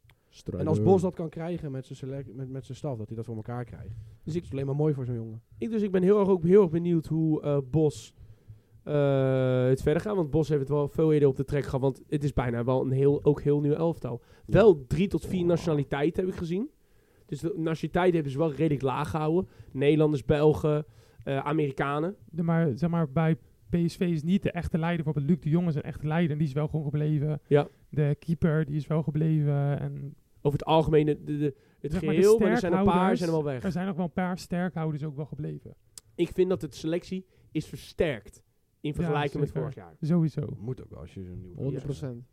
En als Bos dat kan krijgen met zijn, select, met, met zijn staf, dat hij dat voor elkaar krijgt. Dus Dat ik, is alleen maar mooi voor zo'n jongen. ik, dus ik ben heel erg, ook heel erg benieuwd hoe eh, Bos eh, het verder gaat. Want Bos heeft het wel veel eerder op de trek gehad. Want het is bijna wel een heel, ook heel nieuw elftal. Wel drie tot vier nationaliteiten heb ik gezien. Dus de nationaliteiten hebben ze wel redelijk laag gehouden. Nederlanders, Belgen, eh, Amerikanen. De- maar zeg maar, bij PSV is niet de echte leider. Bijvoorbeeld Luc de Jong is een echte leider en die is wel gewoon gebleven. Ja. De keeper, die is wel gebleven. En Over het algemeen de, de- de- het Zeg maar de geheel, maar, er zijn een paar, sterkhouders. zijn er wel weg. er zijn nog wel een paar sterkhouders ook wel gebleven. Ik vind dat de selectie is versterkt in vergelijking met zeker. vorig jaar. Sowieso. Moet ook wel als je zo'n nieuwe 100 En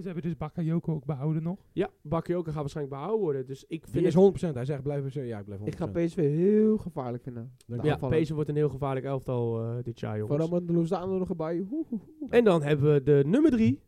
ze hebben dus Bakayoko ook behouden nog. Ja, Bakioka gaat waarschijnlijk behouden worden. Dus ik Die vind is het 100%. Hij zegt blijf ja, ik blijf 100%. Ik ga PSV heel gevaarlijk vinden. Dank Ja, aanvallen. Pezen wordt een heel gevaarlijk elftal eh, dit jaar, jongens. Vooral met de Lozano er nog bij. Hoe, hoe, hoe. En dan hebben we de nummer drie.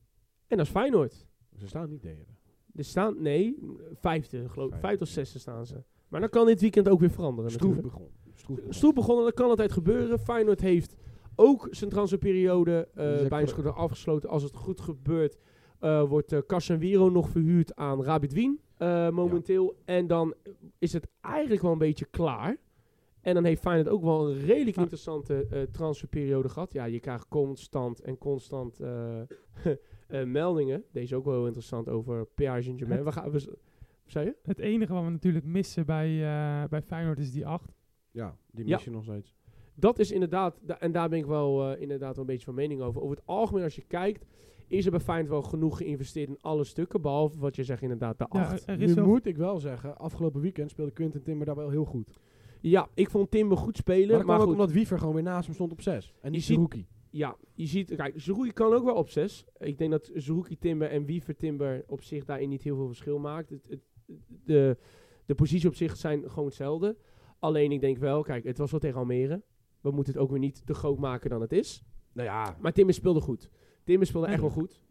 En dat is Feyenoord. Ze staan niet tegen. Er staan, nee, vijfde, geloof ik. Vijfde. Vijfde of zesde staan ze. Maar dan kan dit weekend ook weer veranderen. Stroef natuurlijk. begon. Stroef begon. Stroef begonnen, dat kan altijd gebeuren. Feyenoord heeft ook zijn transferperiode eh Dus dat bij een kan- schouder afgesloten. Als het goed gebeurt, eh, wordt eh Casemiro nog verhuurd aan Rabit Wien eh, momenteel. En dan is het eigenlijk wel een beetje klaar. En dan heeft Feyenoord ook wel een redelijk Ah. interessante eh, transferperiode gehad. Ja, je krijgt constant en constant eh, eh, meldingen. Deze ook wel heel interessant over Pierre Saint-Germain. We gaan... We, z- wat zei je? Het enige wat we natuurlijk missen bij, eh, bij Feyenoord is die 8. Ja, die Ja. mis je nog steeds. Dat is inderdaad, da- en daar ben ik wel eh, inderdaad wel een beetje van mening over. Over het algemeen, als je kijkt, is er bij Feyenoord wel genoeg geïnvesteerd in alle stukken. Behalve wat je zegt, inderdaad, de Ja, acht. Ja, er nu is wel... moet ik wel zeggen, afgelopen weekend speelde Quinten Timber daar wel heel goed. Maar ik vond Timber goed dat spelen. Maar, kwam ook goed, omdat Wiever gewoon weer naast hem stond op 6. En niet ziet- rookie. ja, je ziet, kijk, Zerouki kan ook wel op zes. Ik denk dat Zerouki Timber en Wiever Timber op zich daarin niet heel veel verschil maakt. Het, het, de, de posities op zich zijn gewoon hetzelfde. Alleen ik denk wel, kijk, het was wel tegen Almere. We moeten het ook weer niet te groot maken dan het is. Nou ja, Maar Timber speelde goed. Timber speelde echt wel goed.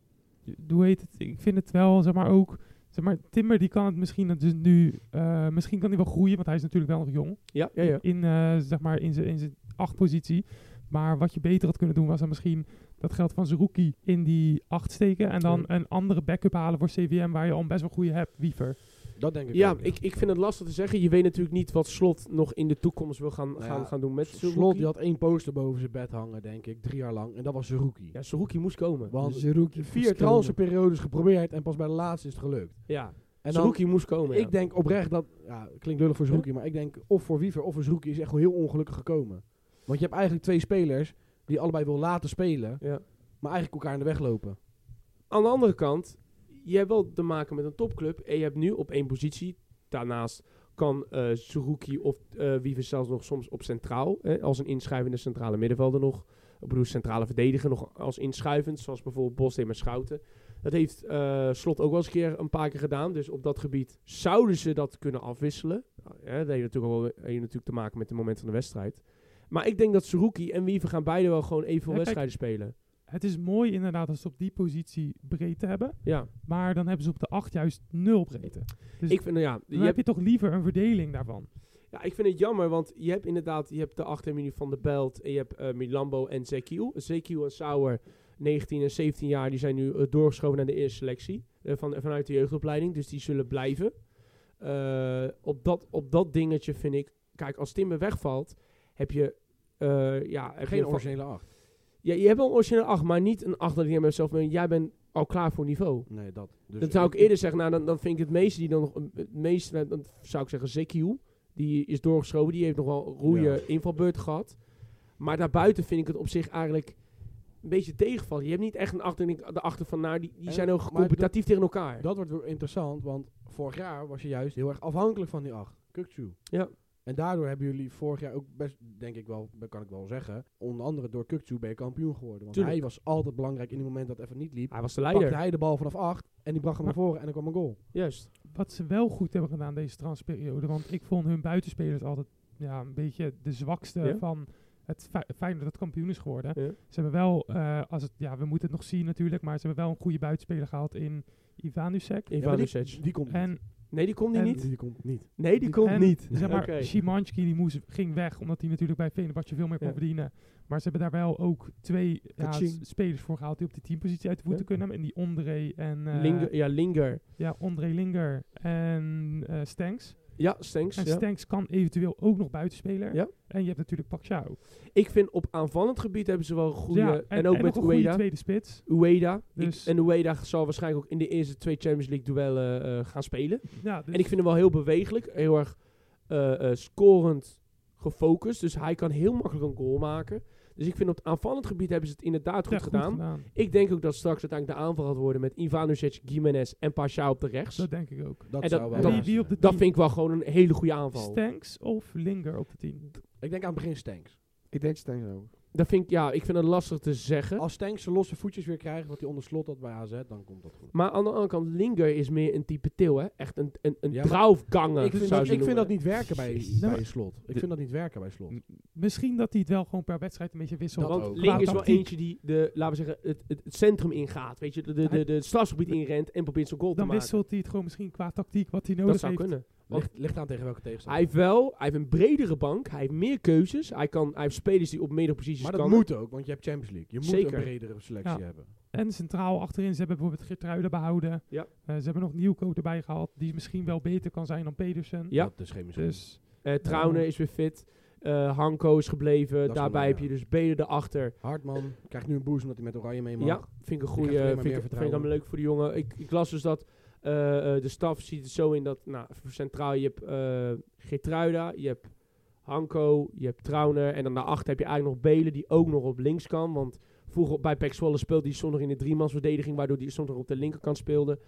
Hoe heet het? Ik vind het wel, zeg maar ook... Zeg maar, Timber die kan het misschien dus nu... eh, misschien kan hij wel groeien, want hij is natuurlijk wel nog jong. Ja, ja, ja. In, eh, zeg maar, in zijn in zijn achtpositie. Maar wat je beter had kunnen doen, was dan misschien dat geld van Zerouki in die acht steken. En dan Ja. een andere backup halen voor CVM, waar je al een best wel goede hebt, Wiever. dat denk ik Ja, ook. ik, ik vind het lastig te zeggen. Je weet natuurlijk niet wat Slot nog in de toekomst wil gaan, Nou gaan, ja, gaan doen met Slot, Zerouki. die had één poster boven zijn bed hangen, denk ik, drie jaar lang. En dat was zijn rookie. Ja, dus Zerouki moest komen. Want Zerouki vier transferperiodes geprobeerd en pas bij de laatste is het gelukt. Ja, En dan, Zerouki moest komen. ja. ik denk oprecht dat, ja, klinkt lullig voor Zerouki, maar ik denk of voor Wiever of voor Zerouki is echt wel heel ongelukkig gekomen. Want je hebt eigenlijk twee spelers die allebei wil laten spelen, Ja. maar eigenlijk elkaar in de weg lopen. Aan de andere kant, je hebt wel te maken met een topclub. En je hebt nu op één positie. Daarnaast kan eh Zerouki of eh Wiever zelfs nog soms op centraal. Hè, als een inschrijvende centrale middenvelder nog. Ik bedoel, centrale verdediger nog als inschuivend. Zoals bijvoorbeeld Bosteen met Schouten. Dat heeft eh, Slot ook wel eens een keer een paar keer gedaan. Dus op dat gebied zouden ze dat kunnen afwisselen. Nou, hè, dat heeft natuurlijk, ook wel, eh, heeft natuurlijk te maken met het moment van de wedstrijd. Maar ik denk dat Zerouki en Wiever gaan beide wel gewoon evenveel Ja, kijk. wedstrijden spelen. Het is mooi inderdaad als ze op die positie breedte hebben. Ja, Maar dan hebben ze op de acht juist nul breedte. Dus ik vind, nou ja, je dan hebt heb je toch liever een verdeling daarvan. Ja, ik vind het jammer, want je hebt inderdaad je hebt de achtermenu van de Belt en je hebt eh, Milambo en Zekiel. Zekiel en Sauer, 19 en 17 jaar, die zijn nu eh, doorgeschoven naar de eerste selectie eh, van, vanuit de jeugdopleiding. Dus die zullen blijven. Eh, op, dat, op dat dingetje vind ik, kijk, als Timber wegvalt, heb je... eh, ja, heb je Geen een va- originele acht. ja, je hebt wel een originele 8, maar niet een 8 dat ik aan mezelf ben. Jij bent al klaar voor niveau. Nee, dat. Dus Dan zou ik eerder zeggen, nou, dan, dan vind ik het meeste die dan nog, het meeste, nou, dan zou ik zeggen Zekiel. Die is doorgeschoven, die heeft nog wel een roeie invalbeurt gehad. Maar daarbuiten vind ik het op zich eigenlijk een beetje tegenvallen. Je hebt niet echt een achter, denk ik, de achter van, nou, die, die En- zijn ook maar competitief tegen elkaar. Dat wordt weer interessant, want vorig jaar was je juist heel erg afhankelijk van die acht. Kukchu. Ja. En daardoor hebben jullie vorig jaar ook best, denk ik wel, dat kan ik wel zeggen, onder andere door Kukchu ben je kampioen geworden. Want Tuurlijk. hij was altijd belangrijk in het moment dat het even niet liep. Hij was de Pakte leider. hij de bal vanaf acht en die bracht hem naar Maar- voren en dan kwam een goal. Juist. Wat ze wel goed hebben gedaan deze transperiode. Want ik vond hun buitenspelers altijd ja, een beetje de zwakste Ja. van het fe- feit dat het kampioen is geworden. Ja. Ze hebben wel, eh, als het, ja, we moeten het nog zien natuurlijk, maar ze hebben wel een goede buitenspeler gehad in Ivanusek. Ja, maar die- Ivanusic. Die komt niet. En, nee, die komt die en- niet. Die komt niet. Nee, die komt en, niet. Zeg maar, Oké. Szymanski die moest, ging weg, omdat hij natuurlijk bij Fenerbahce veel meer kon Ja. verdienen. Maar ze hebben daar wel ook twee ja, Kaching. s- spelers voor gehaald die op die teampositie uit de voeten Ja. kunnen. En die Ondrej en eh, Linger, ja, Linger. ja, Ondrej Linger en eh Stenks. Ja, Stenks. En Ja. Stenks kan eventueel ook nog buitenspeler. Ja. En je hebt natuurlijk Pacquiao. Ik vind op aanvallend gebied hebben ze wel een goede... Ja, en, ook nog met een goede Ueda. tweede spits. Ueda. Dus- Ik- en Ueda zal waarschijnlijk ook in de eerste twee Champions League duellen eh, gaan spelen. Ja, dus En ik vind hem wel heel bewegelijk, heel erg eh, eh, scorend gefocust. Dus hij kan heel makkelijk een goal maken. Dus ik vind op het aanvallend gebied hebben ze het inderdaad goed echt gedaan. Ik denk ook dat straks uiteindelijk de aanval gaat worden met Ivanusic, Gimenez en Pasha op de rechts. Dat denk ik ook. Dat, En dat- zou wel dat- naast wie op de zijn. Dat vind ik wel gewoon een hele goede aanval. Stanks of Linger op de team? Ik denk aan het begin Stanks. Ik denk Stengs ook. Dat vind ik, ja, ik vind het lastig te zeggen. Als Stanks zijn losse voetjes weer krijgt, wat hij onder slot had bij AZ, dan komt dat goed. Maar aan de andere kant, Linger is meer een type til, hè. Echt een, een, een Ja, maar- draufganger, Ik vind, Nou, zou dat, je ik noemen. vind dat niet werken bij, Jezus. Nou, bij maar- slot. Ik De- vind dat niet werken bij slot. Mm. Misschien dat hij het wel gewoon per wedstrijd een beetje wisselt. Dat Want ook. Link is wel tactiek. eentje die, de, laten we zeggen, het, het, het centrum ingaat. Weet je, de, de, de, de het strafgebied inrent en probeert zijn goal te Dan maken. wisselt hij het gewoon misschien qua tactiek wat hij Dat nodig zou heeft. kunnen. Want- Ligt, ligt aan tegen welke Hij tegenstander. heeft wel, hij heeft een bredere bank, hij heeft meer keuzes, hij, kan, hij heeft spelers die op meerdere posities maar dat Dus kan. moet ook, want je hebt Champions League. Je moet Zeker. een bredere selectie Ja. hebben. En centraal achterin, ze hebben bijvoorbeeld Geertruiden behouden. Ja. Eh, ze hebben nog Nieuwkoop erbij gehaald, die misschien wel beter kan zijn dan Pedersen. Ja. Dat is geen misschien. Dus Eh Trauner Ja. is weer fit, eh, Hanko is gebleven, is daarbij wel, heb ja. je dus Beden erachter. Hartman krijgt nu een boost omdat hij met Oranje mee mag. Ja, vind ik een krijgt alleen goede. maar Vind, meer ik- vind ik vertrouwen. dan leuk voor de jongen. Ik, ik las dus dat eh, eh, de staf ziet het zo in dat nou, voor centraal je hebt eh Geertruida, je hebt Hanko, je hebt Trauner. En dan daarachter heb je eigenlijk nog Belen die ook nog op links kan. Want vroeger op- bij Pek Zwolle speelde hij soms nog in de driemansverdediging, waardoor hij soms nog op de linkerkant speelde.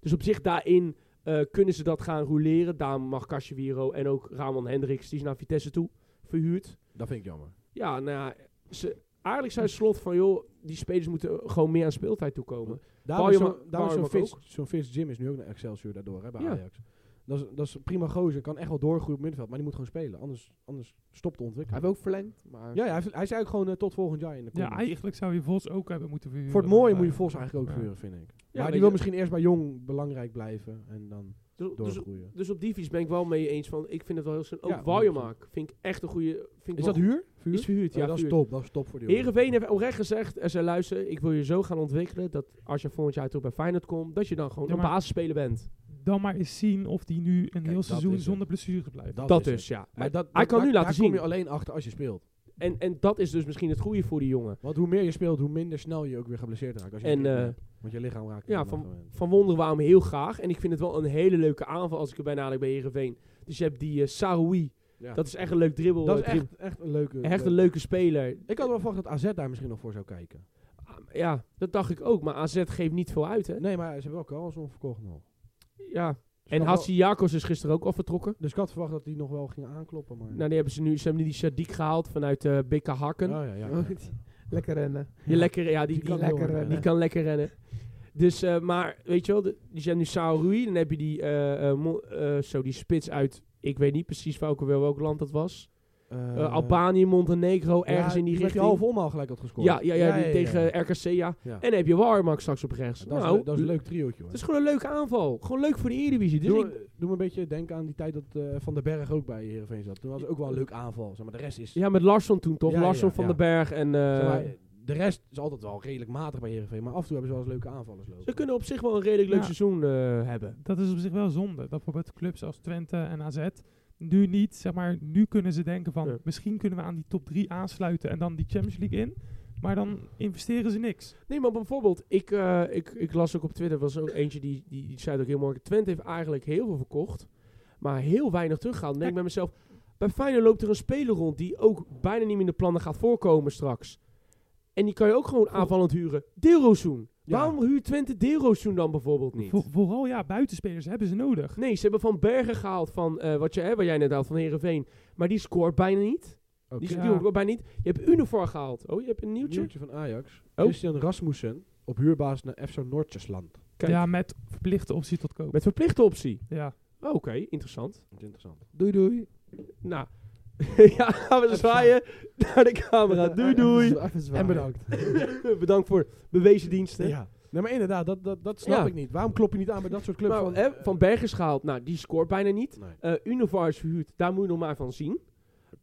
Dus op zich daarin eh, kunnen ze dat gaan roleren. Daar mag Casemiro en ook Ramon Hendricks, die is naar Vitesse toe verhuurd. Dat vind ik jammer. Ja, nou ja, ze, eigenlijk zei slot van joh, die spelers moeten gewoon meer aan speeltijd toekomen. Daarom Bauer- is zo'n- daarom is zo'n Bauer mag Fitz- zo'n Fitz Jim is nu ook naar Excelsior daardoor hè, bij Ja. Ajax. Dat is, dat is een prima gozer. Kan echt wel doorgroeien op middenveld. Maar die moet gewoon spelen. Anders, anders stopt de Hij ontwikkeling. heeft ook verlengd, maar... ja, ja, hij, heeft- hij is eigenlijk gewoon eh, tot volgend jaar in de ja, combi. eigenlijk zou je Vos ook hebben moeten verhuren. Voor het mooie dan moet je bij- Vos eigenlijk ook Ja. vuren, vind ik. Ja, maar weet die wil je- misschien eerst bij Jong belangrijk blijven. En dan Dus, dus, doorgroeien. dus op die vies ben ik wel mee eens van, ik vind het wel heel slim. Ook Ja, ja, vind ik echt een goede... Vind Is ik dat wel- huur? Vuur? Is verhuurd, Ja, ja. dat is verhuurd. top. Dat is top voor die jongen. Heerenveen heeft oprecht gezegd, er zei luister, ik wil je zo gaan ontwikkelen dat als je volgend jaar terug bij Feyenoord komt, dat je dan gewoon Ja, een maar- basisspeler bent. Dan maar eens zien of die nu een heel dat is seizoen het. zonder blessure blijft. Dat, is dus, het. ja. Maar dat, Hij dat- kan daar- nu laten Daar kom je zien. alleen achter als je speelt. En, en dat is dus misschien het goede voor die jongen. Want hoe meer je speelt, hoe minder snel je ook weer geblesseerd raakt. Als je En, een keer eh, hebt. Want je lichaam raakt. ja, op een moment. Van Wonder wou hem heel graag. En ik vind het wel een hele leuke aanval als ik erbij nadenk bij Heerenveen. Dus je hebt die eh, Saroui. Ja. Dat is echt een leuk dribbel. Dat is eh, dribbel- echt, echt een leuke... echt een leuke speler. Ah, Ik had wel verwacht dat AZ daar misschien nog voor zou kijken. Ja, dat dacht ik ook. Maar AZ geeft niet veel uit, hè? Nee, maar ze hebben wel Carlson verkocht nog. Ja. Dus ik En had Hatsi Jacobs is gisteren ook al vertrokken. wel- Dus ik had verwacht dat die nog wel ging aankloppen, maar... Nou, die hebben ze nu, ze hebben nu die Sadiq gehaald vanuit eh BK Hakken. Oh, ja, ja, ja. Lekker rennen. Die, lekker, ja, die, die, Die kan kan, heel hard lekker, eh, die rennen. kan lekker rennen. Dus, eh, maar, weet je wel, de- die zijn nu Saoui. Dan heb je die, eh, eh, Mo- eh, zo die spits uit, ik weet niet precies welke, welk land dat was. Eh, Eh, Albanië, Montenegro, ergens ja, in die met richting. half om al gelijk had gescoord. ja, ja, ja, die tegen ja. RKC, ja. Ja. En dan heb je Warmak straks op rechts. Dat, nou, is, dat is een leuk triootje, hoor. Het is gewoon een leuke aanval. Gewoon leuk voor de Eredivisie. Dus doe, ik, doe me een beetje denken aan die tijd dat eh, Van den Berg ook bij Heerenveen zat. Toen was het ook wel een leuk aanval, zeg maar. De rest is... ja, met Larsson toen toch? Ja, ja, Larsson ja, van ja. den Berg en... eh, zeg maar, de rest is altijd wel redelijk matig bij Heerenveen, maar af en toe hebben ze wel eens leuke aanvallers lopen. Ze kunnen op zich wel een redelijk leuk Ja. seizoen eh, hebben. Dat is op zich wel zonde. Dat bijvoorbeeld clubs als Twente en AZ nu niet, zeg maar, nu kunnen ze denken van Ja. misschien kunnen we aan die top 3 aansluiten en dan die Champions League in. Maar dan investeren ze niks. Nee, maar bijvoorbeeld, ik, eh, ik, ik las ook op Twitter, was ook eentje die, die, die zei het ook heel mooi. Twente heeft eigenlijk heel veel verkocht, maar heel weinig teruggehaald. Dan denk ik bij mezelf, bij Feyenoord loopt er een speler rond die ook bijna niet meer in de plannen gaat voorkomen straks. En die kan je ook gewoon aanvallend huren. Deelrozoen. Ja. Waarom huurt Twente Deelrozoen dan bijvoorbeeld niet? Vo- vooral ja, buitenspelers hebben ze nodig. Nee, ze hebben Van Bergen gehaald van eh, wat, je, hè, wat jij net had van Herenveen. Maar die scoort bijna niet. Oké. Die, Ja. die hoort bijna niet. Je hebt Univor gehaald. Oh, je hebt een nieuwtje. Nieuwtje van Ajax. Oh. Christian Rasmussen op huurbaas naar FC Noordjesland. Kijk. Ja, met verplichte optie tot koop. Met verplichte optie. Ja. Oh, Oké, interessant. Dat is interessant. Doei doei. Nou, ja, gaan we zwaaien naar de camera. Doei doei. En bedankt. Bedankt voor bewezen diensten. Ja. Nee, maar inderdaad, dat, dat, dat snap Ja. ik niet. Waarom klop je niet aan bij dat soort clubs? Maar, van, hè, van Bergen is gehaald. Nou, die scoort bijna niet. Nee. Eh Univar is verhuurd. Daar moet je nog maar van zien.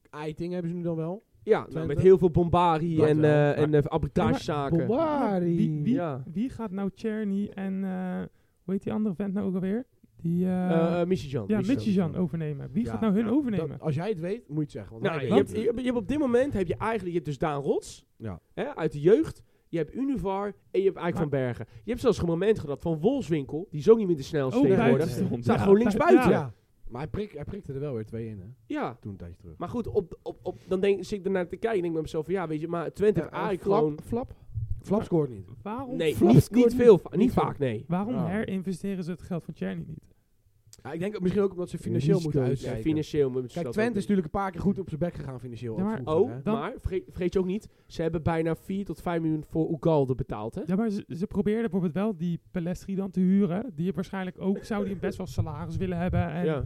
Eiting hebben ze nu dan wel. Ja, nou, Twente. met heel veel bombarie Dat en, wel. eh, Maar- en eh, arbitragezaken. Bombari. Wie, wie, Ja. wie gaat nou Cherny en eh, hoe heet die andere vent nou ook alweer? Die, eh Eh, eh, Michijan. ja, Michijan. Mitjejan overnemen. Wie Ja, gaat nou hun ja, overnemen? Dat- als jij het weet, moet je het zeggen. Want Nou, wij je, weten hebt, het je, hebt- je hebt op dit moment heb je eigenlijk je hebt dus Daan Rots Ja. hè, uit de jeugd. Je hebt Univar en je hebt Eik van Bergen. Je hebt zelfs een moment gehad van Wolfswinkel, die is ook niet meer de snelste Oh, tegenwoordig. buiten stond. Staat Ja, gewoon links buiten. buiten. niet. Ja. Ja. Maar hij, prik, hij prikte er wel weer twee in, hè? Toen een tijdje terug. Maar goed, op, op, op, dan denk, zit ik ernaar te kijken en denk ik bij mezelf van ja, weet je, maar Twente heeft eigenlijk gewoon... Flap? Flap scoort niet. Waarom, Nee, Flap niet, scoort niet niet. veel, va- niet Niet veel. vaak, nee. waarom Ah. herinvesteren ze het geld van Cherny niet? Ja, ik denk ook misschien ook omdat ze financieel Risico's. moeten Ja, uitkijken. Dus, eh, financieel moet je Kijk, dat Twente ook is doen. natuurlijk een paar keer goed op zijn bek gegaan financieel. Ja, ook maar- vroeger, Oh, hè. Dan- maar vergeet, vergeet je ook niet, ze hebben bijna 4 tot 5 miljoen voor Ugalde betaald, hè? Ja, maar ze, ze probeerden bijvoorbeeld wel die Pelestri dan te huren. Die waarschijnlijk ook zou die best wel salaris willen hebben. En Ja.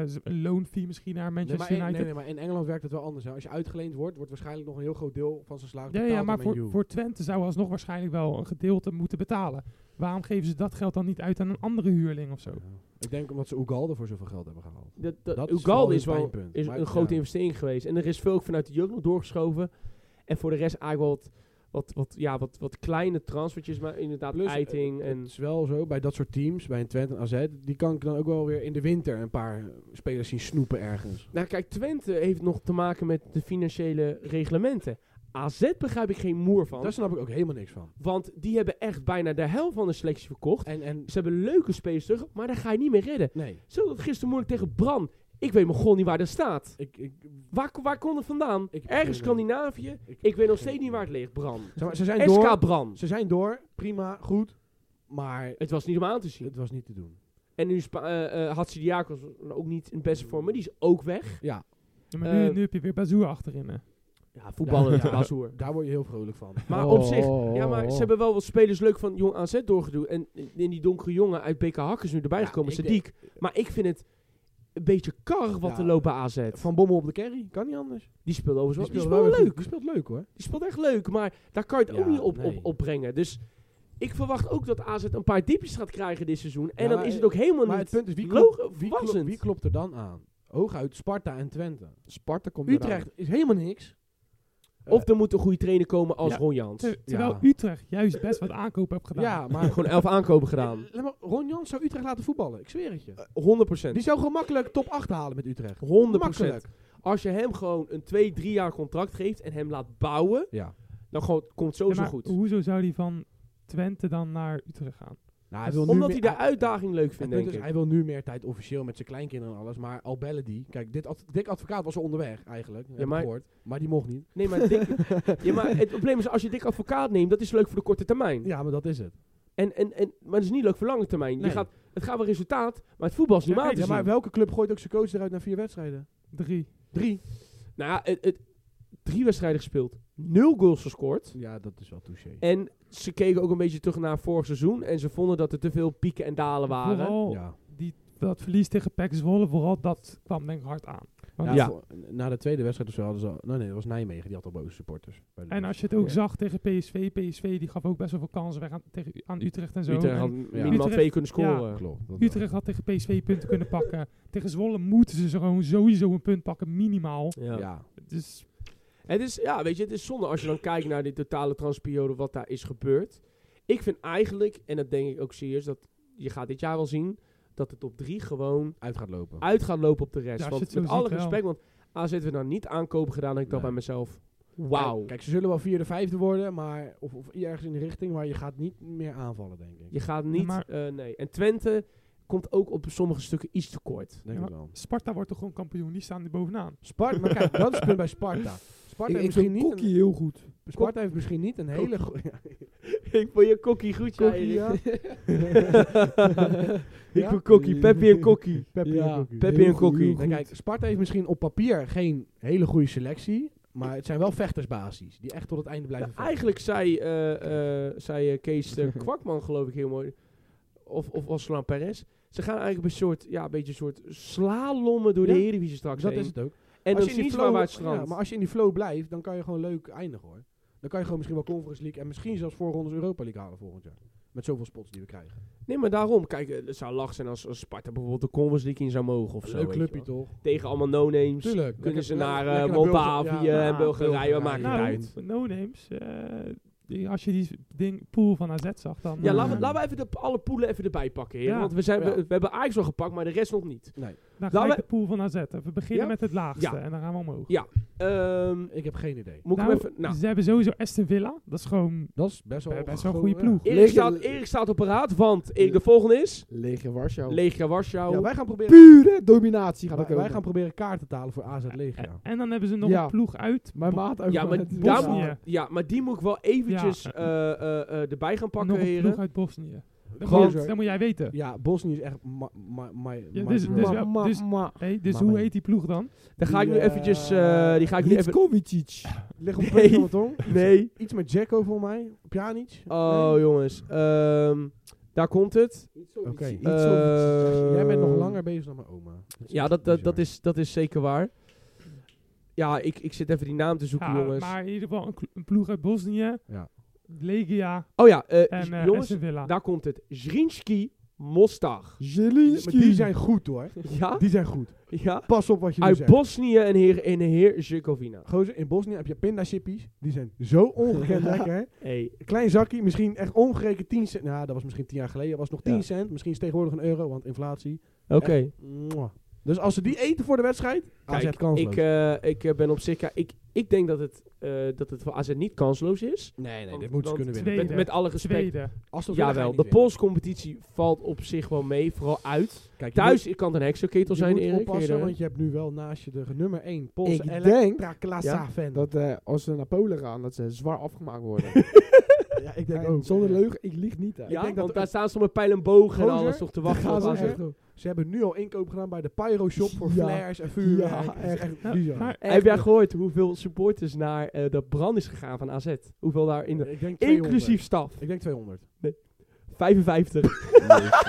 eh, z- een loonfee misschien naar Nee Manchester maar, in, United. nee, nee, maar in Engeland werkt het wel anders. Hè. Als je uitgeleend wordt, wordt waarschijnlijk nog een heel groot deel van zijn salaris Ja, betaald ja, maar aan Man voor, U. voor Twente zou alsnog waarschijnlijk wel een gedeelte moeten betalen. Waarom geven ze dat geld dan niet uit aan een andere huurling of zo? Ja. Ik denk omdat ze Ugalde voor zoveel geld hebben gehaald. Dat, dat, Dat is vooral Ugalde is hun wel pijnpunt. is Maar een ja. grote investering geweest. En er is veel ook vanuit de jeugd nog doorgeschoven. En voor de rest eigenlijk wat, wat, wat, ja, wat, wat kleine transfertjes, maar inderdaad Plus, eh, eiting. En, Het is wel zo, bij dat soort teams, bij een Twente en AZ, die kan ik dan ook wel weer in de winter een paar eh, spelers zien snoepen ergens. nou kijk, Twente heeft nog te maken met de financiële reglementen. AZ begrijp ik geen moer van. Daar snap ik ook helemaal niks van. Want die hebben echt bijna de helft van de selectie verkocht. En, en Ze hebben leuke spelers terug, maar daar ga je niet meer redden. nee, Zo dat gisteren moeilijk tegen Bran. Ik weet mijn god niet waar dat staat. ik, ik, Waar, waar kon het vandaan? Ik- Ergens Scandinavië. ik, Ik weet nog steeds niet waar het ligt, Bran. Zeg maar, ze, zijn SK door, Bran. ze zijn door, prima, goed, maar Het was niet om aan te zien. het was niet te doen. En nu Spa- eh, eh, had Sidiakos ook niet in het beste vorm, maar die is ook weg. Ja, Ja, maar nu, Eh, nu heb je weer Bazoer achterin. hè. Ja, voetballer, Ja. Oh. ja. Bassoer. daar word je heel vrolijk van. Maar op zich, ja, maar ze hebben wel wat spelers leuk van Jong AZ doorgedoen. En in die donkere jongen uit BK Hakkers nu erbij Ja, gekomen, ik Sadiq. Maar ik vind het een beetje karrig wat Ja. er loopt bij AZ. Van Bommel op de carry, kan niet anders. Die speelde overigens wel. Die wel speelde weer leuk. goed. Die speelt leuk hoor. Die speelt echt leuk, maar daar kan je het ook Ja, niet op, nee. op, opbrengen. Dus ik verwacht ook dat AZ een paar diepjes gaat krijgen dit seizoen. En Ja, dan maar- is het ook helemaal Maar het niet... punt is, wie Logo- klopt, wie, verrassend. klopt, wie klopt er dan aan? Hooguit Sparta en Twente. Sparta komt Utrecht is helemaal niks. Of er moet een goede trainer komen als Ja. Ron Jans. Ter- terwijl ja. Utrecht juist best wat aankopen heeft gedaan. Ja, maar Gewoon elf aankopen gedaan. Laat maar, Ron Jans zou Utrecht laten voetballen, ik zweer het je. 100%. Die zou gewoon makkelijk top 8 halen met Utrecht. 100 Makkelijk. Als je hem gewoon een 2, 3 jaar contract geeft en hem laat bouwen, Ja. dan gewoon, komt Ja, sowieso maar goed. Hoezo zou die van Twente dan naar Utrecht gaan? Nou, hij wil nu Omdat meer- hij de uitdaging leuk het vindt, punt denk is, ik. hij wil nu meer tijd officieel met zijn kleinkinderen en alles. Maar al bellen die. Kijk, dit ad, Dick Advocaat was al onderweg eigenlijk. Ja, maar, maar- gehoord, maar die mocht niet. Nee, maar, dik, ja, maar het probleem is, als je dik advocaat neemt, dat is leuk voor de korte termijn. Ja, maar dat is het. En, en, en, maar dat is niet leuk voor lange termijn. Nee. Je gaat, het gaat wel resultaat, maar het voetbal is niet Ja, maat kijk, te Ja, maar zien. welke club gooit ook zijn coach eruit na vier wedstrijden? Drie. Drie. Nou ja, het, het- drie wedstrijden gespeeld, nul goals gescoord. Ja, dat is wel touché. En ze keken ook een beetje terug naar vorig seizoen. En ze vonden dat er te veel pieken en dalen waren. Vooral Ja. die, dat verlies tegen PEC Zwolle, vooral dat kwam denk ik hard aan. Want- Ja, Ja. voor- Na de tweede wedstrijd of zo hadden ze al... Nou nee, dat was Nijmegen. Die had al boze supporters. Bij de En als mensen. je het ook Ja. zag tegen PSV, PSV die gaf ook best wel veel kansen weg aan, tegen, aan Utrecht en zo. Utrecht eh, had En minimaal Utrecht- twee kunnen scoren. Klopt. dat wel. Utrecht had tegen PSV punten kunnen pakken. Tegen Zwolle moeten ze gewoon sowieso een punt pakken, minimaal. ja. Ja. Dus Het is, ja, weet je, het is zonde als je dan kijkt naar die totale transperiode, wat daar is gebeurd. Ik vind eigenlijk, en dat denk ik ook serieus, dat je gaat dit jaar wel zien, dat de top 3 gewoon Uit gaat lopen. uit gaat lopen op de Ja, rest. als je want het zo met ziet alle wel. respect, want AZ we nou niet aankopen gedaan, dan ik dacht Nee. bij mezelf, wauw. Kijk, ze zullen wel vierde, vijfde worden. Maar of, of ergens in de richting. Maar je gaat niet meer aanvallen, denk ik. Je gaat niet, Maar- eh, nee. En Twente komt ook op sommige stukken iets te kort. Denk Ja, ik wel. Sparta wordt toch gewoon kampioen, die staan er bovenaan. Sparta, maar kijk, dat is het punt bij Sparta. Sparta, heeft, misschien niet een, heel goed. Sparta heeft misschien niet een hele goede... ik vond je kokkie goed, ja, Kokkie, Erik. ja. Ik vond kokkie, Peppy en kokkie. Peppi Ja. en Kokkie. Peppy en kokkie. En kijk, Sparta heeft misschien op papier geen hele goede selectie. Maar het zijn wel vechtersbasis. Die echt tot het einde blijven Nou, vechten. eigenlijk zei, eh, eh, zei eh, Kees eh, Kwakman, geloof ik, heel mooi. Of, of was Solan Perez. Ze gaan eigenlijk op een soort, ja, een beetje een soort slalommen door de Ja, Eredivisie straks Dus Dat heen. is het ook. en dan Als je in die zie je flow- waar het ja, strand. maar als je in die flow blijft, dan kan je gewoon leuk eindigen hoor. Dan kan je gewoon misschien wel Conference League en misschien zelfs voorrondes Europa League halen volgend jaar. Met zoveel spots die we krijgen. nee, maar daarom. Kijk, eh, het zou lach zijn als, als Sparta bijvoorbeeld de Conference League in zou mogen of zo. Leuk weet je clubje wel. toch? Tegen allemaal no-names. Tuurlijk. Kunnen ze naar, eh, Montavi Moldavië en Bulgarije, maakt niet Nou, uit. no-names. eh, die- als je die ding, pool van AZ zag, dan... Ja, eh, laten we, laten we even de, alle poelen even erbij pakken, heren. Ja. Want we, zijn, Ja. we, we hebben Ajax al gepakt, maar de rest nog niet. dan laten ga ik we- de pool van AZ. even. We beginnen Ja? met het laagste Ja. en dan gaan we omhoog. Ja. Ehm, Ik heb geen idee. moet Nou, ik hem even... Nou, Ze hebben sowieso Aston Villa. Dat is gewoon Dat is best wel, best wel een goede ploeg. Erik, Legia- staat, Erik staat op paraat, want Erik, de volgende is... Legia Oh. Warschau. Legia Warschau. Ja, wij gaan proberen, Pure dominatie gaat wij, er wij komen. gaan proberen kaarten te halen voor AZ Legia. En, en dan hebben ze nog Ja. een ploeg uit. Mijn maat uit Ja, maar het is daar Bosnië. moet- Ja, maar die moet ik wel eventjes Ja. eh, eh, eh, erbij gaan pakken, nog een ploeg heren. uit Bosnië. Dat, Gewoon- moet, dat moet jij weten. Ja, Bosnië is echt... ma- ma- ma- Ja, ma- dus- dus ma- wel- ma- dus- ma- Hé, dus Maar hoe nee. heet die ploeg dan? Dan ga ik nu Die, eh, eventjes... eh, die ga ik nu even... Hitkovicic. Leg op een Nee. puntje van mijn tong. Nee. Iets met Jacko voor mij. Pjanic. Oh, jongens. Ehm, daar komt het. Oké. Zoiets. Iets of- Eh, Jij bent nog langer bezig dan mijn oma. is Ja, echt dat, dat, bizar. dat, is, dat is zeker waar. Ja, ik, ik zit even die naam te zoeken, Ja, jongens. maar in ieder geval een, klo- een ploeg uit Bosnië, Ja. Legia Oh ja, eh, en, eh jongens, en Villa. daar komt het. Zrinski Mostar. Maar die zijn goed hoor. Ja? Die zijn goed. Ja? Pas op wat je nu Uit zegt. Bosnië en Heer, en Heer Zirkovina. Gozer, in Bosnië heb je pindachippies. Die zijn zo ongekend lekker. hè. Hey. Klein zakje, misschien echt omgerekend 10 cent. Nou, dat was misschien 10 jaar geleden. Dat was nog 10 Ja. cent. Misschien is het tegenwoordig een euro, want inflatie. Oké. Eh, Mwah. Dus als ze die eten voor de wedstrijd, AZ Kijk, kansloos. ik, eh, ik eh, ben op zich... Ik, ik denk dat het, eh, dat het voor AZ niet kansloos is. nee, nee, want- dit moeten want ze kunnen Met, winnen. Tweede. met alle respect. Tweede. Aston Villa ga je Jawel, niet de winnen. Poolse competitie valt op zich wel mee. Vooral uit. Kijk, je Thuis kan het een heksenketel moet, zijn, je moet Erik. oppassen, eerder. want je hebt nu wel naast je de nummer 1 Poolse Ik denk Elektra Klasa fan. dat eh, als ze naar Polen gaan, dat ze zwaar afgemaakt worden. ja, ik denk En ook. Zonder Ja. leugen, ik lieg niet. Hè. Ja, Ik denk dat want de- daar staan ze met pijl en boog en Gozer, alles toch te Daar wachten gaan op ze, AZ. echt- ze hebben nu al inkoop gedaan bij de Pyro Shop voor Ja. flares en vuurwerk. Ja, Het is echt Ja, bizar. Nou, maar Heb jij gehoord hoeveel supporters naar eh, de brand is gegaan van AZ? Hoeveel daar in de... ik denk 200. Inclusief staf. Ik denk 200. 55.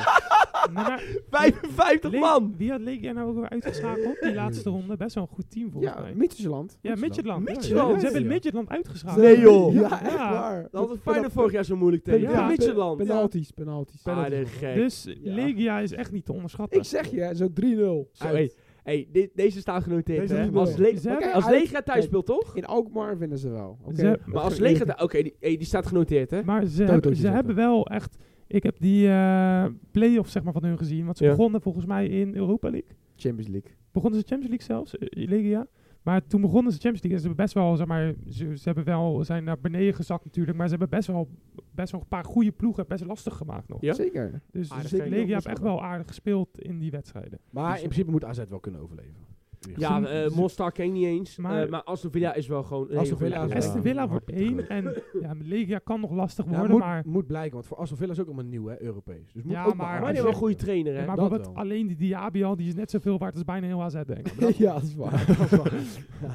maar- maar 55 Le- man! Wie had Legia nou ook weer uitgeschakeld? Die laatste ronde. Best wel een goed team volgens Ja, mij. Mitchelland. ja, Midtjylland. Ja, Midtjylland. ja, Ze hebben Ja. Midtjylland uitgeschakeld. Nee, joh. Ja, echt Ja. waar. Dat had het Pena- Feyenoord vorig jaar zo moeilijk Pena- tegen. Ja, ja, Midtjylland. Penalties, penalties. Ah, de gek. Dus Ja. Legia is echt niet te onderschatten. Ik zeg je, hè, zo 3-0. Zo, hey, hey, dit- deze staan genoteerd, Deze hè? doen we. Als, Le- Ze hebben- als uit- Legia thuis Kijk, speelt, toch? In Alkmaar winnen ze wel. Oké. Ze- Maar als Legia... Oké, die, hey, die staat genoteerd, hè? Maar ze, Totootje hebben, ze zetten. hebben wel echt... Ik heb die eh play-offs zeg maar, van hun gezien. Want ze Ja. begonnen volgens mij in Europa League. Champions League. Begonnen ze Champions League zelfs, eh, Legia. Maar toen begonnen ze Champions League. En ze hebben best wel, zeg maar... Ze, ze hebben wel, zijn naar beneden gezakt natuurlijk. Maar ze hebben best wel, best wel een paar goede ploegen best lastig gemaakt nog. Ja? Zeker. Dus Aardig dus zeker Legia heeft echt onderschatten. wel aardig gespeeld in die wedstrijden. Maar in principe moet AZ wel kunnen overleven. Ja, Ze- eh ze- Mostar ken ik niet eens. eh, Maar, Maar- Aston Villa is wel gewoon... een Aston hele Villa goede is ploeg. wel- Aston Villa hard wordt te groeien. één. En ja, Legia kan nog lastig Ja, worden. moet, maar moet blijken, want voor Aston Villa is ook allemaal nieuw, hè, Europees. Dus moet Ja, ook maar Maar maar die hebben als wel je- een goede trainer, hè? maar dat bijvoorbeeld wel. alleen die Diaby al, die is net zoveel waard als bijna heel AZ, denk ik. ja, dat is waar.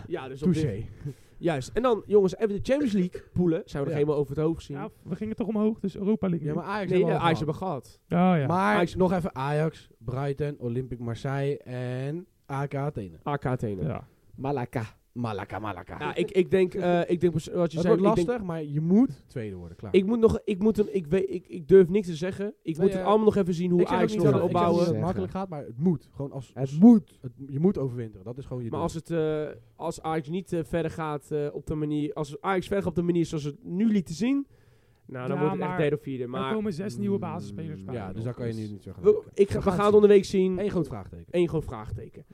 Ja, dus op dit- Touché. Juist. En dan, jongens, even de Champions League poelen. Zijn we nog Ja. helemaal over het hoofd gezien? Ja, Nou, we gingen toch omhoog, dus Europa League. Ja, maar Ajax nee, hebben we eh, al Ajax gehad. hebben we gehad. Oh ja. Maar Ajax- nog even Ajax, Brighton, Olympic Marseille en AK Athene. AK Athene. ja. Malaka. Malaka, Malaka. Ja, ik, ik denk, eh, ik denk pers- wat je het zei, wordt ik, lastig, denk, maar je moet tweede worden, klaar. ik moet nog, ik moet een, ik weet, ik, ik durf niks te zeggen. Ik Nee, moet het eh, allemaal nog even zien hoe Ik zeg ook Ajax niet nog dat gaat het- ik zeg niet opbouwen. dat het makkelijk gaat, maar het moet. Gewoon als, Het moet. het- je moet overwinteren, dat is gewoon je Maar doel. als het, eh, als Ajax niet eh, verder gaat eh, op de manier, als Ajax verder gaat op de manier zoals het nu liet zien, nou dan Ja, wordt het echt maar- derde of vierde. er Maar komen zes nieuwe basisspelers Mm, bij. Ja, dus daar kan je nu niet zo gaan. we, ik, ga- we gaan het onder de week zien. Eén groot vraagteken. Eén groot vraagteken.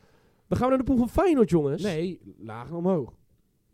Dan gaan we naar de pool van Feyenoord, jongens. Nee, laag en omhoog.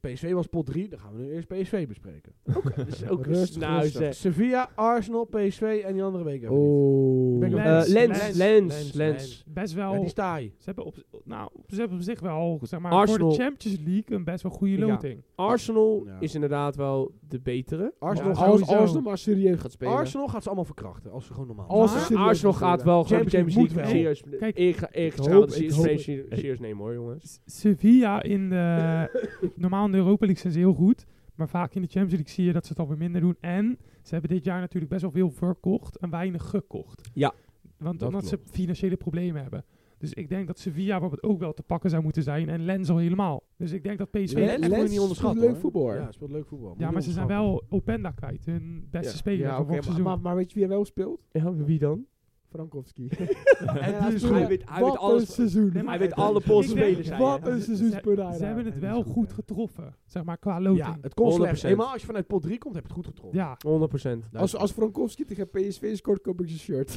PSV was pot 3, dan gaan we nu eerst PSV bespreken. Dat is ook Rustig, nou, rustig. zeg. Sevilla, Arsenal, PSV en die andere week even niet. Oh. Ben ik ook- Eh, Lens, Lens, Lens, Lens, Lens, Lens. Best wel, Ja, die sta je. ze, hebben op, nou, ze hebben op zich wel, zeg maar, Arsenal. voor de Champions League een best wel goede Ja. loting. Arsenal Ja. is inderdaad wel de betere. Arsenal, Ja, gaat- Als Sowieso. Arsenal maar serieus gaat spelen. Arsenal gaat ze allemaal verkrachten, als ze gewoon normaal Als Maar ze serieus Arsenal gaan gaat spelen. wel gewoon de Champions Champions League League serieus. Kijk, ik ga ik ik ga hoop- trouwens ik serieus- hoop- serieus- serieus- serieus nemen hoor jongens. S- Sevilla in de... normaal in de Europa League zijn ze heel goed. Maar vaak in de Champions League zie je dat ze het alweer minder doen. En ze hebben dit jaar natuurlijk best wel veel verkocht en weinig gekocht. Ja. Want Dat omdat ze financiële problemen hebben. Dus ik denk dat Sevilla wat ook wel te pakken zou moeten zijn. En Lens al helemaal. Dus ik denk dat PSV... Lens moet je Lens niet onderschatten. speelt leuk hoor. voetbal. Ja, speelt leuk voetbal. Moet ja, je maar ze zijn onderschatten. wel Openda kwijt. Hun beste Ja. speler Ja, van oké, vorig maar, seizoen. maar, maar weet je wie er wel speelt? Ja, wie dan? Frankowski. En Ja, dus toen- hij weet- hij weet wat alles een van- seizoen. Nee, Hij maar weet alle Poolse Ik denk- spelers. zei Wat hij. een seizoen Ze- speelde hij Ze daar. hebben het Ja, wel dat is goed, goed, hè. getroffen. Zeg maar, qua loting. Ja, het kon slecht. 100%. Helemaal als je vanuit pot 3 komt, heb je het goed getroffen. 100%. Als, als Frankowski tegen PSV scoort, koop ik zijn shirt.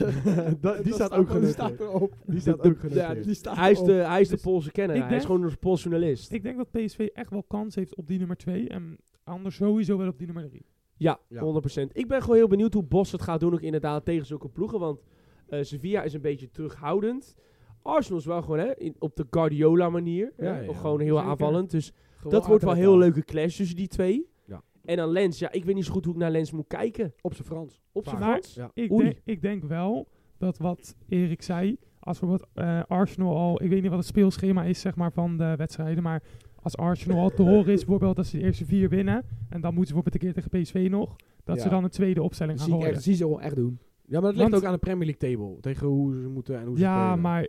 Dat- die staat ook Die genoteerd. staat erop. Die staat ook Ja, genoteerd. die staat Hij is erop. de hij is de Dus Poolse kenner. ik Hij is denk- gewoon een Poolse journalist. Ik denk dat PSV echt wel kans heeft op die nummer 2. En anders sowieso wel op die nummer 3. Ja, Ja. 100%. Ik ben gewoon heel benieuwd hoe Bos het gaat doen ook inderdaad tegen zulke ploegen. Want eh, Sevilla is een beetje terughoudend. Arsenal is wel gewoon hè, in- op de Guardiola manier. hè, Ja, ja. Gewoon heel Zeker. aanvallend. Dus Gewoon dat wordt wel heel uiteraard. leuke clash tussen die twee. Ja. En dan Lens. Ja, ik weet niet zo goed hoe ik naar Lens moet kijken. Op zijn Frans. Op zijn Maar- Frans. Ja. Ik, Oei. denk, ik denk wel dat wat Erik zei, als bijvoorbeeld eh, Arsenal al, ik weet niet wat het speelschema is zeg maar, van de wedstrijden, maar als Arsenal al te horen is, bijvoorbeeld dat ze de eerste vier winnen, en dan moeten ze bijvoorbeeld een keer tegen PSV nog, dat Ja. ze dan een tweede opstelling gaan Zie ik gooien. echt, zie ze wel echt doen. Ja, maar dat Want- ligt ook aan de Premier League table. Tegen hoe ze moeten en hoe ze Ja, spelen. maar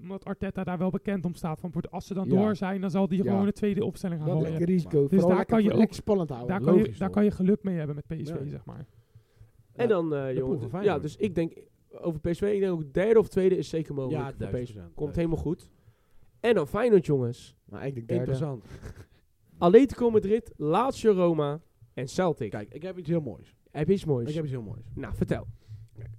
omdat Arteta daar wel bekend om staat. Van, voor de- als ze dan Ja. door zijn, dan zal die Ja. gewoon een tweede opstelling gaan Dat gooien. lekker risico. Dus Vooral daar lekker- kan je lekker spannend houden. Daar, kan je, logisch daar toch? kan je geluk mee hebben met PSV, Ja. zeg maar. En dan, eh, ploeg jongen. Ja, van Feyenoord. dus ik denk over PSV, ik denk ook derde of tweede is zeker ja, mogelijk. voor PSV. 1000%. Komt helemaal goed. En dan Feyenoord, jongens. Maar ik denk derde. Interessant. Atletico Madrid, Lazio Roma en Celtic. Kijk, ik heb iets heel moois. heb je iets moois? Ik heb iets heel moois. Nou, vertel.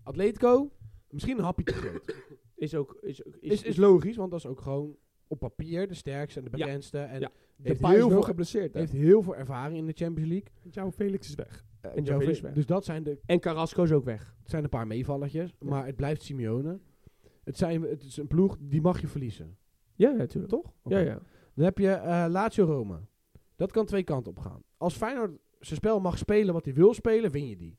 Atletico, misschien een hapje te groot. Is ook... Is, ook- Is, is logisch, want dat is ook gewoon op papier de sterkste en de Ja. bekendste. En Ja. heeft, Depay is heel wel veel, geblesseerd. hè. heeft heel veel ervaring in de Champions League. Jouw Felix is weg. en Joe Felix weg. Dus dat zijn, de, En Carrasco is ook weg. het zijn een paar meevallertjes. Maar het blijft Simeone. Het, zijn, het is een ploeg, die mag je verliezen. Ja, natuurlijk. Toch? Ja, ja. Dan heb je eh Lazio Roma. Dat kan twee kanten op gaan. Als Feyenoord zijn spel mag spelen wat hij wil spelen, win je die.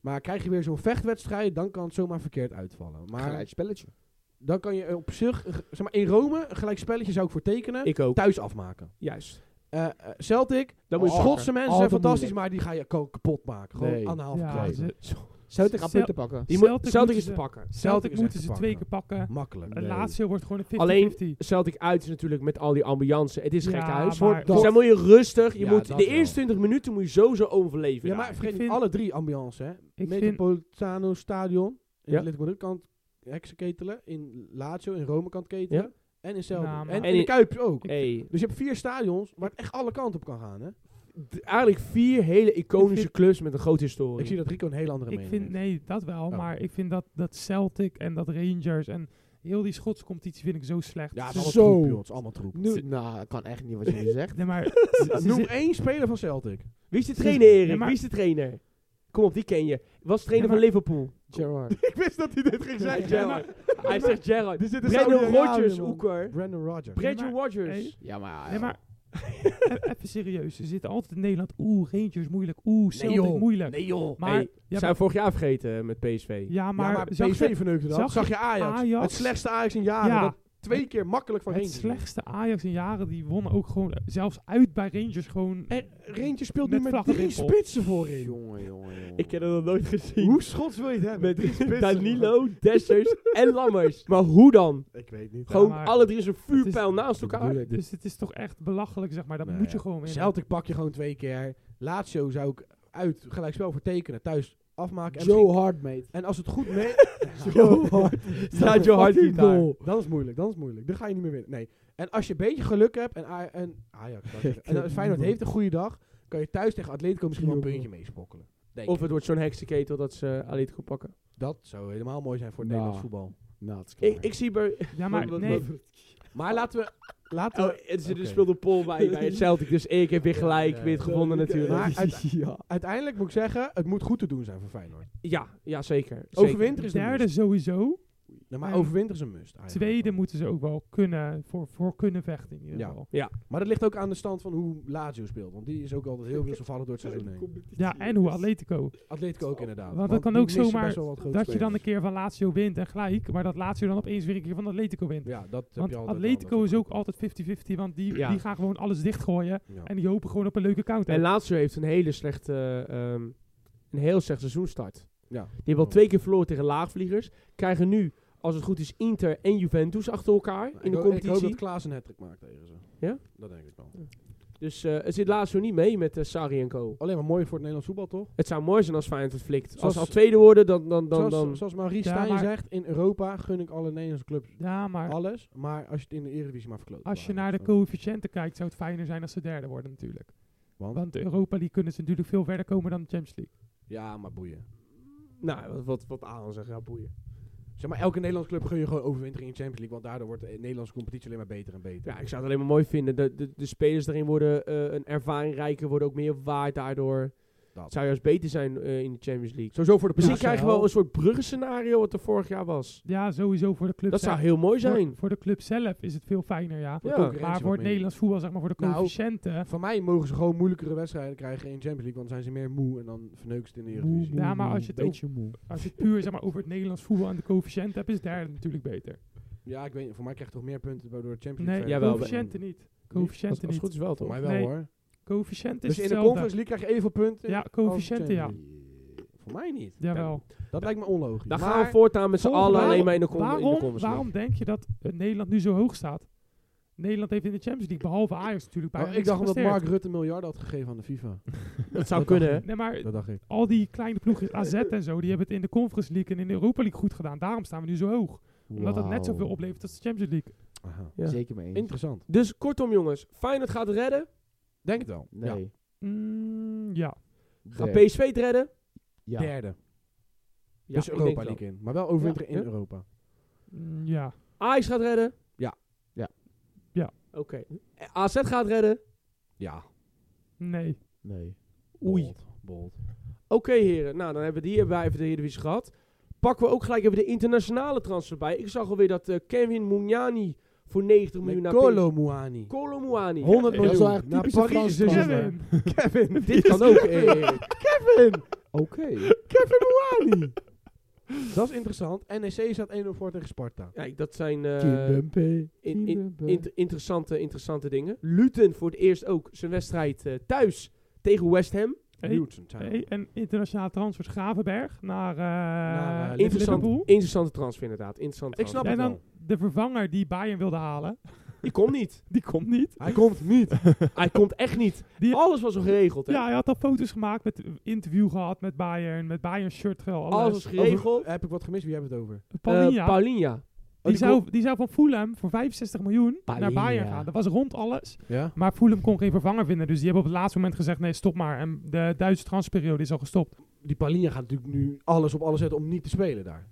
Maar krijg je weer zo'n vechtwedstrijd, dan kan het zomaar verkeerd uitvallen. Maar Gelijk spelletje. dan kan je op zich, eh, zeg maar in Rome, een gelijk spelletje zou ik voor tekenen, Ik ook. thuis afmaken. Juist. Eh, eh, Celtic, Dan moet je Schotse pakken. mensen zijn Altijd fantastisch, moeilijk. maar die ga je ko- kapot maken. Gewoon Nee. aan de halve Ja, krijgen. ze- Celtic gaat Cel- punten pakken. Die moet- Celtic Celtic, moeten is ze- te pakken. Celtic Celtic is moeten echt ze te twee keer pakken. pakken. Makkelijk. En Lazio wordt gewoon een 50-50. Alleen- Celtic uit is natuurlijk met al die ambiance. Het is Ja, gek huis. maar Dus dat- dan moet je rustig. Je Ja, moet, dat de wel. eerste 20 minuten moet je sowieso overleven. Ja, daar. maar vergeet Ik niet, vind- alle drie ambiance, hè. Ik vind, Metropolitano Stadion. In Ja. ja. Madrid kan het heksen ketelen. In Lazio, in Rome kan het ketelen. Ja. En in Celtic. Nou, maar- en, En in de in- Kuip ook. Hey, Dus je hebt vier stadions waar het echt alle kanten op kan gaan, hè. d- eigenlijk vier hele Ik iconische vind- clubs met een grote historie. Ik zie dat Rico een hele andere ik mening vind, heeft. nee, dat wel. Oh. Maar ik vind dat, dat Celtic en dat Rangers en heel die Schotse competitie vind ik zo slecht. Ja, het Ze- is allemaal Zo. troep, joh. Het is allemaal troep. Nu, nou, dat kan echt niet wat je zegt. nee, maar ze- ze- Noem één speler van Celtic. Wie is de trainer, Erik? Ja, maar- Wie is de trainer? Kom op, die ken je. Was de trainer Ja, maar- van Liverpool. Gerard. ik wist dat hij dit ging Gerrard. Ja, maar- Hij zegt Gerrard. Er zit een Brendan Saudi-Arabië, Rodgers, man. Oeker. Brandon Rogers. Brendan maar- Rodgers. Ja, Ah, maar... Nee, maar e- even serieus. Ze zitten altijd in Nederland. Oeh, Rangers moeilijk. Oeh, Celtic joh. moeilijk. Nee joh. Maar, Hey, ja, Zijn we vorig jaar vergeten met PSV. ja, Maar, maar, zag je- PSV verneukte dat. zag Zag, je je Ajax, Ajax? Het slechtste Ajax in jaren. Ja. Dat twee keer makkelijk van het Rangers. slechtste Ajax in jaren, die wonnen ook gewoon, zelfs uit bij Rangers gewoon. En Rangers speelt nu Met met vlaggen drie op. spitsen voorin. Jongen, jongen, jongen. Ik heb dat nog nooit gezien. Hoe schots wil je het hebben? Met drie spitsen. Danilo, Dessers en Lammers. Maar hoe dan? Ik weet niet. Gewoon maar- alle drie zo'n is- vuurpijl naast elkaar. Moeilijk. Dus het is toch echt belachelijk, zeg maar. Dat Nou moet je ja. gewoon winnen. Celtic pak je gewoon twee keer. Lazio zou ik uit gelijk spel voor tekenen. Thuis afmaken. En, Joe misschien- Hard, mate. en als het goed mee... Joe Hart. Staat je hart niet daar. Dat is moeilijk. Dat is moeilijk. Dan ga je niet meer winnen. Nee. En als je een beetje geluk hebt en, A- en Ajax... wou ik zeggen. en Feyenoord heeft een goede dag. Kan je thuis tegen Atletico misschien wel een puntje meespokkelen. Denk Of ik. het wordt zo'n heksenketel dat ze eh, Atletico pakken. Dat zou helemaal mooi zijn voor het Nou. Nederlands voetbal. Nou, het is klaar. Ik, ik zie bij... Ja, maar Wat- nee. wat- Maar laten we... Laten Oh, we er zit Oké. een speelde pol bij, bij het Celtic. Dus ik heb weer gelijk, Ja, weer het gewonnen natuurlijk. Maar uit- ja. uiteindelijk moet ik zeggen, het moet goed te doen zijn voor Feyenoord. Ja, ja zeker. zeker. Overwinter is een Derde must. sowieso. Nee, Nou, maar en overwinter is een must. eigenlijk. Tweede moeten ze ook wel kunnen, voor, voor kunnen vechten in ieder Ja. geval. Maar dat ligt ook aan de stand van hoe Lazio speelt. Want die is ook altijd heel wisselvallig door het seizoen heen. Ja, en hoe Atletico. Atletico Oh. ook inderdaad. Want dat kan die ook missen zomaar best wel wat grote Dat je dan een spelers. keer van Lazio wint en gelijk, maar dat Lazio dan opeens weer een keer van Atletico wint. Ja, dat heb want je altijd. Atletico wel, is dat- ook altijd 50-50, want die, Ja. die gaan gewoon alles dichtgooien Ja. en die hopen gewoon op een leuke counter. En Lazio heeft een hele slechte... ehm, een heel slecht seizoenstart. Ja. Die hebben al twee keer verloren tegen laagvliegers. Krijgen nu, als het goed is, Inter en Juventus achter elkaar Maar in ik de ho- competitie. Ik hoop dat Klaas een hat maakt tegen ze. Ja? Dat denk ik wel. Dus eh het zit Lazio niet mee met eh, Sarri en co. Alleen maar mooi voor het Nederlands voetbal, toch? Het zou mooi zijn als Feyenoord het flikt. als Zoals- ze al tweede worden, dan... dan, dan, zoals, dan zoals Maurice Ja, Stijn maar- zegt, in Europa gun ik alle Nederlandse clubs Ja, maar alles. Maar als je het in de Eredivisie maar verkloot. als je naar de coëfficiënten kijkt, zou het fijner zijn als ze derde worden natuurlijk. Want? Want de Europa League kunnen ze natuurlijk veel verder komen dan de Champions League. Ja, maar boeien. nou, wat, wat, wat Aaron zegt, ja, boeien. Zeg maar, elke Nederlandse club gun je gewoon overwintering in de Champions League. Want daardoor wordt de Nederlandse competitie alleen maar beter en beter. Ja, ik zou het alleen maar mooi vinden. De, de, de spelers daarin worden eh, een ervaring rijker, worden ook meer waard daardoor. Dat. Het zou juist beter zijn eh, in de Champions League. Sowieso voor de Misschien ploeg krijgen we zelf. wel een soort bruggenscenario wat er vorig jaar was. Ja, sowieso voor de club Dat zou zelf. heel mooi zijn. Voor, voor de club zelf is het veel fijner, ja. Ja. concurrentie Maar wat voor het meer. Nederlands voetbal, zeg maar, voor de Nou, coëfficiënten... Van mij mogen ze gewoon moeilijkere wedstrijden krijgen in de Champions League. Want dan zijn ze meer moe en dan verneuken ze het in de Eredivisie. Ja, maar als je het ook- Beetje moe. Als je het puur zeg maar, over het Nederlands voetbal en de coëfficiënt hebt, is derde natuurlijk beter. Ja, ik weet niet. Voor mij krijgt toch meer punten door de Champions League. Nee, verder. jawel, coëfficiënten niet. Als, Coëfficiënten als het goed niet. is wel, Voor toch? mij wel Nee. hoor. Coëfficiënt is Dus in de hetzelfde. Conference League krijg je evenveel punten. Ja, als coëfficiënten, ja. Champions League. Voor mij niet. Jawel. Dat lijkt me onlogisch. Dan Maar- gaan we voortaan met z'n Volgens allen mij- alleen maar in de kom- in de waarom, conference waarom denk je dat eh, Nederland nu zo hoog staat? Nederland heeft in de Champions League, behalve Ajax natuurlijk, bijna Oh, ik niks dacht omdat gepresteerd. Mark Rutte miljarden had gegeven aan de FIFA. League. Dat zou Dat kunnen, dacht hè? Nee, maar Dat dacht ik. al die kleine ploegjes, AZ en zo, die hebben het in de Conference League en in de Europa League goed gedaan. Daarom staan we nu zo hoog. Omdat dat net Wauw. zoveel oplevert als de Champions League. Aha. Ja. Zeker mee eens. Interessant. Dus kortom, jongens. Feyenoord gaat het redden. Denk het wel. Ja. Nee. Mm, ja. Gaat Nee. PSV het redden? Ja. Derde. Ja, ik dus denk Europa het wel. League in. Maar wel overwinteren Ja. in Ja. Europa. Mm, ja. Ajax gaat redden? Ja. Ja. Ja. Oké. Eh, AZ gaat redden? Ja. Nee. Nee. Oei. Bold. Bold. Oké, heren. Nou, dan hebben we die hebben wij even de Eredivisie gehad. Pakken we ook gelijk even de internationale transfer bij. Ik zag alweer dat eh, Kevin Mugnani voor 90 miljoen naar Nicolo Muani. Kolo Muani. 100 Ja, dat is wel miljoen. echt Naar typische Paris Frans is transfer. het. Kevin. Kevin. Dit kan ook. eh, Oké. Dat is interessant. NEC staat 1-0 voor tegen Sparta. Ja, dat zijn eh, Kimpempe, in- Kimpempe. inter- interessante, interessante dingen. Luton voor het eerst ook zijn wedstrijd eh, thuis tegen West Ham. Hey, Newton Town. hey, en internationale transfers Gravenberg naar, eh eh, Liverpool. Interessant, interessante transfer inderdaad. Interessante Ik snap En het dan wel. de vervanger die Bayern wilde halen, transfer. Die komt niet. die komt niet. Hij komt niet. Hij komt echt niet. Die- Alles was al geregeld. Hè? Ja, hij had al foto's gemaakt, met interview gehad met Bayern, met Bayern shirt gehad, Alles was alles. geregeld. Heb ik wat gemist? Wie hebben we het over? Eh, Paulinho, Oh, Paulinho. Oh, die, die zou, die zou van Fulham voor 65 miljoen Paulinho. naar Bayern gaan. Dat was rond alles. Ja? Maar Fulham kon geen vervanger vinden. Dus die hebben op het laatste moment gezegd, nee, stop maar. En de Duitse transperiode is al gestopt. Die Palinha gaat natuurlijk nu alles op alles zetten om niet te spelen daar.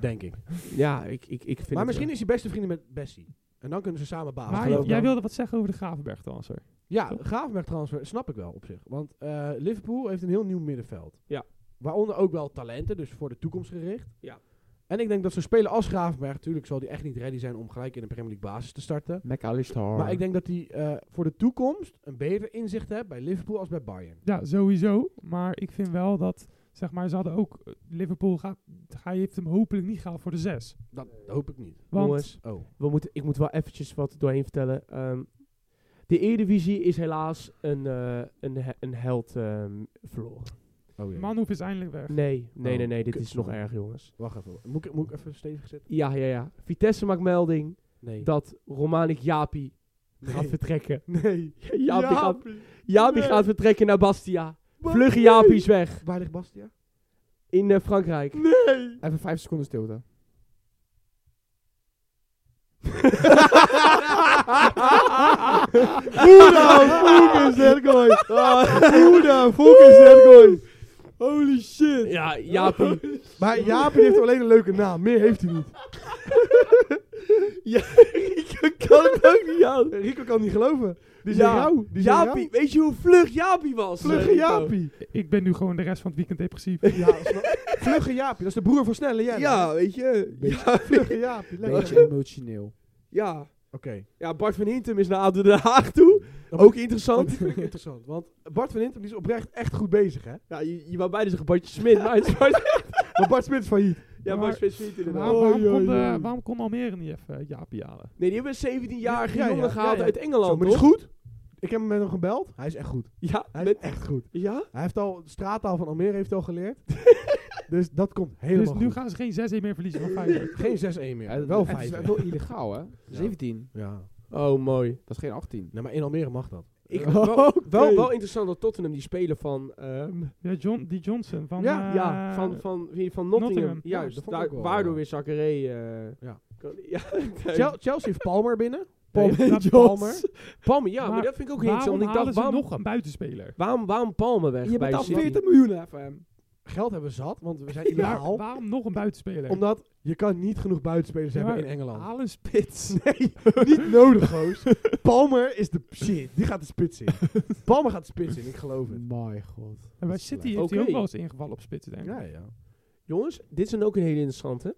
Denk ik. Ja, ik, ik, ik vind Maar het, misschien eh, is hij beste vrienden met Bessie. En dan kunnen ze samen baas. maar Ah, geloof jij ik wel. wilde wat zeggen over de Gravenberg transfer. Ja, Gravenberg transfer snap ik wel op zich. Want eh, Liverpool heeft een heel nieuw middenveld. Ja. Waaronder ook wel talenten, dus voor de toekomst gericht. Ja. En ik denk dat zo'n speler als Gravenberg, natuurlijk zal die echt niet ready zijn om gelijk in de Premier League basis te starten. McAllister. Maar ik denk dat hij eh, voor de toekomst een beter inzicht hebt bij Liverpool als bij Bayern. Ja, sowieso. Maar ik vind wel dat, zeg maar, ze hadden ook... eh, Liverpool gaat, hij heeft hem hopelijk niet gehaald voor de zes. Dat hoop ik niet. Want jongens, Oh. we moeten, ik moet wel eventjes wat doorheen vertellen. Ehm, de Eredivisie is helaas een, eh, een, he- een held ehm, verloren. oh jee. Manhoef is eindelijk weg. Nee, nee, Oh, nee, nee, dit kut. is nog erg, jongens. Wacht even. Moet ik, moet ik even stevig zitten? Ja, ja, ja. Vitesse maakt melding Nee. dat Romanik Japi gaat Nee. vertrekken. nee. Japi, gaat, Japi gaat vertrekken naar Bastia. Vlugge Japi is weg Waar ligt Bastia? in eh, Frankrijk. Even vijf seconden stilte. Hoera, focus, that guy. Hoera, focus, that guy. Holy shit. Ja, Jaapie. Maar Jaapie heeft alleen een leuke naam. Meer heeft hij niet. Ja, ik kan het ook niet aan. Rico kan niet geloven. Die is Ja. jou. Die is een Jaapie, jou. weet je hoe vlug Jaapie was? Vlugge eh, Jaapie. Ik ben nu gewoon de rest van het weekend depressief. Ja, snap- Vlugge Jaapie. Dat is de broer van Snelle Rico? Jelle. Ja, weet je. Ja, Vlugge Jaapie. lekker. Beetje emotioneel. ja. Oké. Ja, Bart van Hintem is naar ADO Den Haag toe. Ook Dat interessant. vind ik interessant. Want Bart van Hintem die is oprecht echt goed bezig, hè? Ja, je, je wou beide zeggen Bartje Smit, maar het is Bart... Maar Bart Smit failliet. Ja, Maar- Bart Smit Smit inderdaad. Waarom, waarom, Oei, oei, kon, eh, oei. waarom kon Almere niet even eh, Jaapie halen? Nee, die hebben een 17-jarige Ja, ja, jongen ja, gehaald ja, ja. uit Zo, Engeland, maar die is toch? goed. Ik heb hem met hem gebeld. Hij is echt goed. Ja, Hij met- is echt goed. ja? Hij heeft al straattaal van Almere heeft hij al geleerd. dus dat komt Dus helemaal nu goed. gaan ze geen 6-1 meer verliezen van Feyenoord. Geen 6-1 meer. wel 5. Het is wel illegaal, hè? 17. Ja. Oh, mooi. Dat is geen 18. Nee, maar in Almere mag dat. Ik, Oh, wel, wel, oké. wel interessant dat Tottenham die spelen van, ehm, Ja, John, die Johnson van... Ja, eh, ja, van, van, wie- van Nottingham. Nottingham. Ja, Juist, dat vond ik daar- ook wel, waardoor ja. weer Zachary... eh, Ja. kan- ja, Chel- Chelsea heeft Palmer binnen. Palmer. Nee, Jones. Palmer. Palmer, ja, maar, Maar dat vind ik ook heel Waarom interessant. Ik halen dacht, ze waarom, nog een buitenspeler? waarom, waarom Palmer weg Je bij betaalt City? 40 miljoen hè, voor hem. Geld hebben we zat, want we zijn Ja, illegaal. waarom nog een buitenspeler? Omdat je kan niet genoeg buitenspelers Ja, hebben maar- in Engeland. Haal een spits. Nee, niet nodig, Goos. Palmer is de shit. Die gaat de spits in. Palmer gaat de spits in, ik geloof het. My god. En bij City heeft Oké. hij ook wel eens ingevallen op spits, denk ik. Ja, ja. Jongens, dit is dan ook een hele interessante.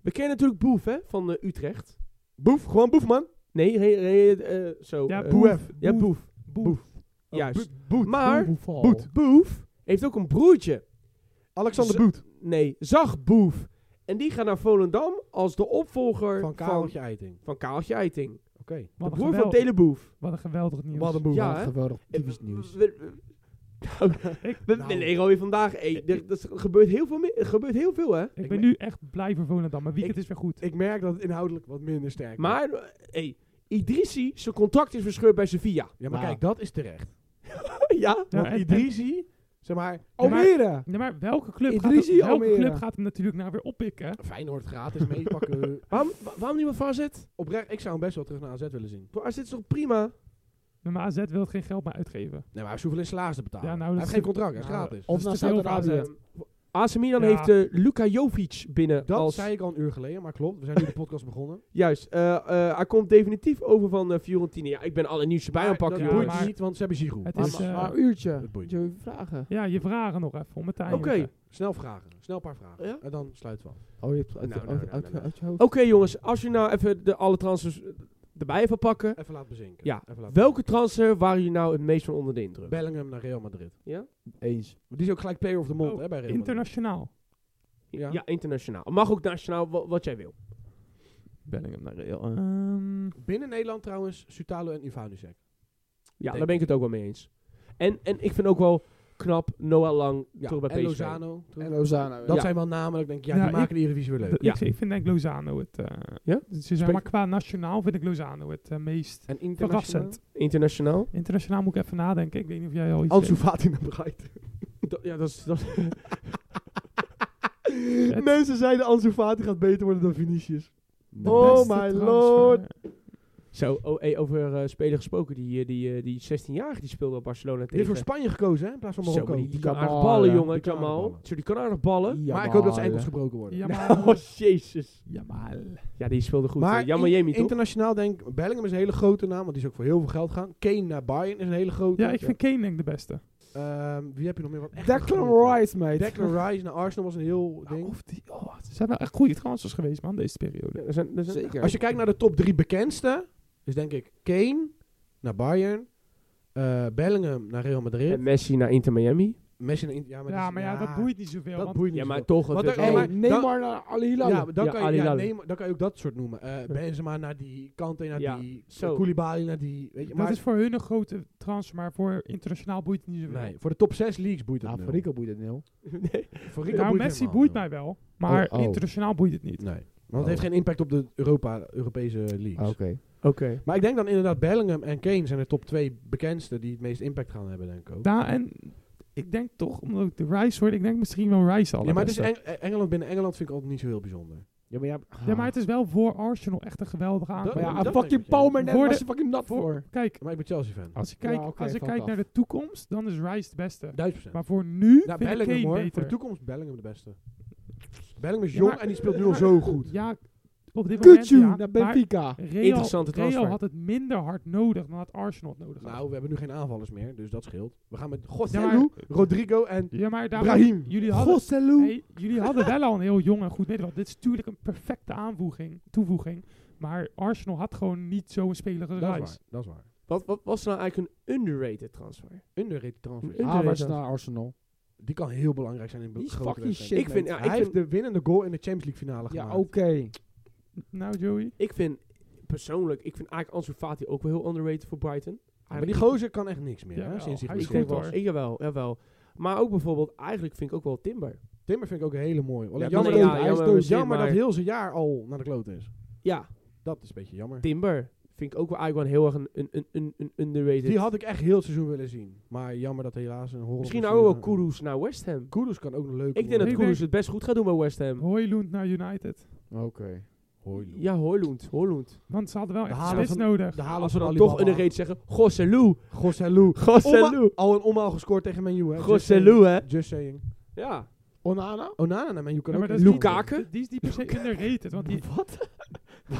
We kennen natuurlijk Boef, hè, van eh, Utrecht. Boef, gewoon boef, man. Nee, re, re- eh, zo. Ja, eh, Boef. Oh, Boef. Oh, Ja, Boef. Boef. Juist. Boet. Maar- Oh, Boet. Boef heeft ook een broertje. Alexander Z- Boet. Nee, zag Boef. En die gaat naar Volendam als de opvolger Van van, Kareltje Eiting. van Kaaltje Eiting. Oké. De Wat, een broer van geweld- Teleboef. wat een geweldig nieuws. Wat een boef. Ja, Wat hè? geweldig Eh, typisch nieuws. we- we- We willen hier alweer vandaag. Hey, er, dat is- er gebeurt, heel veel, mi- er gebeurt heel veel, hè? Ik ben nu echt blij voor Volendam. Maar weekend is weer goed. Ik merk dat het inhoudelijk wat minder sterk is. Maar, eh, hey, Idrissi, zijn contract is verscheurd bij Sevilla. Ja, maar Nou. kijk, dat is terecht. ja? Oh, Ja, Want en- Idrisi, zeg maar... oh, Almere! Ja, maar welke club, gaat Idrissi hem, welke Almere. club gaat hem natuurlijk nou weer oppikken? Feyenoord gratis meepakken. Waarom, wa- waarom niet met voor AZ? Oprecht, ik zou hem best wel terug naar AZ willen zien. Voor AZ is toch prima? Ja, Maar AZ wil het geen geld meer uitgeven. Nee, maar hij hoeft alleen salaris te betalen. Ja, nou, hij dat heeft is- geen contract, hij is Nou, gratis. Of is naar te veel voor AZ. Saudi-Arabië. AC Milan Ja. heeft eh, Luka Jovic binnen Dat als... zei ik al een uur geleden, maar klopt. We zijn nu de podcast begonnen. Juist. eh, eh, hij komt definitief over van eh, Fiorentina. Ja, ik ben alle nieuws erbij aan het Dat pakken. ja, jongen. boeit maar- niet, want ze hebben Giroud. Het Maar is, ma- eh, maar- Maar een uurtje. Dat boeit Moet je vragen. Ja, je vragen nog even om het einde. Oké. Snel vragen. Snel een paar vragen. Ja? En dan sluiten we af. Oh, je hebt het uit, Nou, nou, uit- nou, uit- nou, nou. uit je hoofd. Oké jongens, als je nou even de, alle transfers eh, erbij even pakken. Even laten bezinken. Ja, Even laten Welke transfer waren jullie nou het meest van onder de indruk? Bellingham naar Real Madrid. Eens. Die is ook gelijk player of the month Oh, hè, bij Real Madrid. Internationaal. Ja, Ja. internationaal. Mag ook nationaal, wa- wat jij wil. Bellingham naar Real. Ehm, Binnen Nederland trouwens, Sutalo en Ivanusek. Ja, daar ben ik het ook wel mee eens. En, en ik vind ook wel knap Noah Lang Ja, terug bij en PSV. Lozano. terug. En Lozano. Dat Ja. zijn wel namen dat ik denk, ja, Ja, die ik- maken de Eredivisie weer leuk. d- Ja. ik, ik vind denk Lozano het... eh, Ja? Ze zijn maar qua nationaal vind ik Lozano het eh, meest En verrassend. Internationaal? Internationaal moet ik even nadenken. Ik weet niet of jij al iets Ansu weet. Fati naar Brighton. Dat- ja, dat is... Dat Het- Mensen zeiden Ansu Fati gaat beter worden dan Vinicius. de Oh beste my transfer. lord. Zo, oh, hey, over eh speler gesproken. Die, eh, die, eh, die 16-jarige die speelde op Barcelona Die tegen... heeft voor Spanje gekozen, hè, in plaats van Zo, Marokko. maar die, die kan Jamal, aardig ballen, ja. jongen, Die kan aardig Jamal. ballen. Zo, die kan aardig ballen. Maar ik hoop dat zijn eh, enkels gebroken worden. Jamal. Oh, jezus. Jamal. Ja, die speelde goed. maar Maar Jammer in- Jemi, toch? internationaal denk ik, Bellingham is een hele grote naam, want die is ook voor heel veel geld gaan. Kane naar Bayern is een hele grote. Ja, ik vind Kane denk ik de beste. Ehm, wie heb je nog meer? Wat echt een grote- Declan Rice, mate. Declan Rice naar Arsenal was een heel Ja, ding. of die, oh, ze zijn wel echt goede transfers geweest, man, deze periode. Ja, er zijn, er zijn- Zeker. Als je kijkt naar de top drie bekendste, is denk ik Kane naar Bayern, eh, Bellingham naar Real Madrid, en Messi naar Inter Miami. Messi naar Inter. Ja, maar, Ja, die- maar ja, dat boeit niet zoveel. Dat want boeit niet. Ja, maar zoveel. toch. Wat het- er- het- Hey, Hey, maar dan- Neymar naar Al Hilal. Nou, Ja, maar dan, Ja, kan Ali je, ja, Lali. nee, maar dan kan je ook dat soort noemen. Eh, Benzema naar die, Kante naar Ja, die, eh, zo. Koulibaly naar die. Weet je, dat maar is voor hun een grote transfer, maar voor internationaal boeit het niet zoveel. nee, voor de top 6 leagues boeit het Nou, nul. voor Rico boeit het nul. nee. Voor Rico Nou, boeit het Messi helemaal boeit nul. mij wel, maar Oh, oh. internationaal boeit het niet. Nee, want het heeft geen impact op de Europa, Europese leagues. Oké. Oké. Maar ik denk dan inderdaad Bellingham en Kane zijn de top twee bekendste die het meest impact gaan hebben, denk ik ook. Daar en ik denk toch, omdat ik de Rice hoorde, ik denk misschien wel Rice al. Ja, maar het is Eng- eh, Engeland binnen Engeland vind ik altijd niet zo heel bijzonder. Ja, maar ja... ja, maar het is wel voor Arsenal echt een geweldige aankoop. Maar ja, dat denk fucking ik, ja. Palmer net Voor was de- je fucking nat voor- voor. Kijk, Maar ik ben Chelsea fan. als je kijkt, oké, als je fuck kijkt off. naar de toekomst, dan is Rice het beste. 1000 procent. Maar voor nu Nou, vind ik Bellingham Kane hoor. beter. Voor de toekomst Bellingham de beste. Bellingham is Ja, jong maar- en die speelt nu al zo goed. Ja, op dit moment Kutju ja, naar maar Benfica. Ah, Real, Interessante transfer. Real had het minder hard nodig dan had Arsenal het nodig had. Nou, we hebben nu geen aanvallers meer, dus dat scheelt. We gaan met Ja, Godselu, maar- Rodrigo en ja, maar daarom, Brahim. jullie hadden, Godselu. hey, jullie hadden wel al een heel jong en goed middenveld. Dit is natuurlijk een perfecte aanvoeging, toevoeging. Maar Arsenal had gewoon niet zo'n speler als Dat is waar, Rice. dat is waar. Wat, wat was nou eigenlijk een underrated transfer? Underrated transfer. Een Havertz underrated nou, naar Arsenal. Die kan heel belangrijk zijn in Die be- is grote fucking wedstrijden. shit, Ik vind- mate. ja, Hij heeft de winnende goal in de Champions League finale Ja, gemaakt. oké. Nou, Joey. Ik vind persoonlijk, ik vind eigenlijk Ansu Fati ook wel heel underrated voor Brighton. Maar die gozer kan echt niks meer, hè, Jawel, sinds hij hij is Ik geblesseerd denk goed, wel, was. hoor. ik- jawel, jawel. Maar ook bijvoorbeeld, eigenlijk vind ik ook wel Timber. Timmer vind ik ook een hele mooi. Alleen Ja, jammer, nee, dat, ja, hij is jammer, dood. misschien, Jammer dat maar- heel zijn jaar al naar de klote is. Ja, Dat is een beetje jammer. Timber vind ik ook wel eigenlijk wel heel erg een, een, een- een, een underrated. Die had ik echt heel het seizoen willen zien. Maar jammer dat helaas een horror. Misschien nou ook wel Kudus naar West Ham. Kudus kan ook nog leuk Ik denk dat Ik Kudus denk- het best goed gaat doen bij West Ham. Hoylund naar United. Oké. Ja, Hoylund, Hoylund. Want ze hadden wel echt halen spits van- nodig. de halen Als ze we dan dan toch een reet zeggen, Gosselu, Gosselu. Gosselu, Al Oh, een omhaal gescoord tegen Menu, hè? Just saying. Gosselu, hè. Just saying. Ja. Onana? Onana naar Menu kan Ja, ook. maar dat niet. is Lukaku? Die, die is niet per se underrated. Want die, Wat?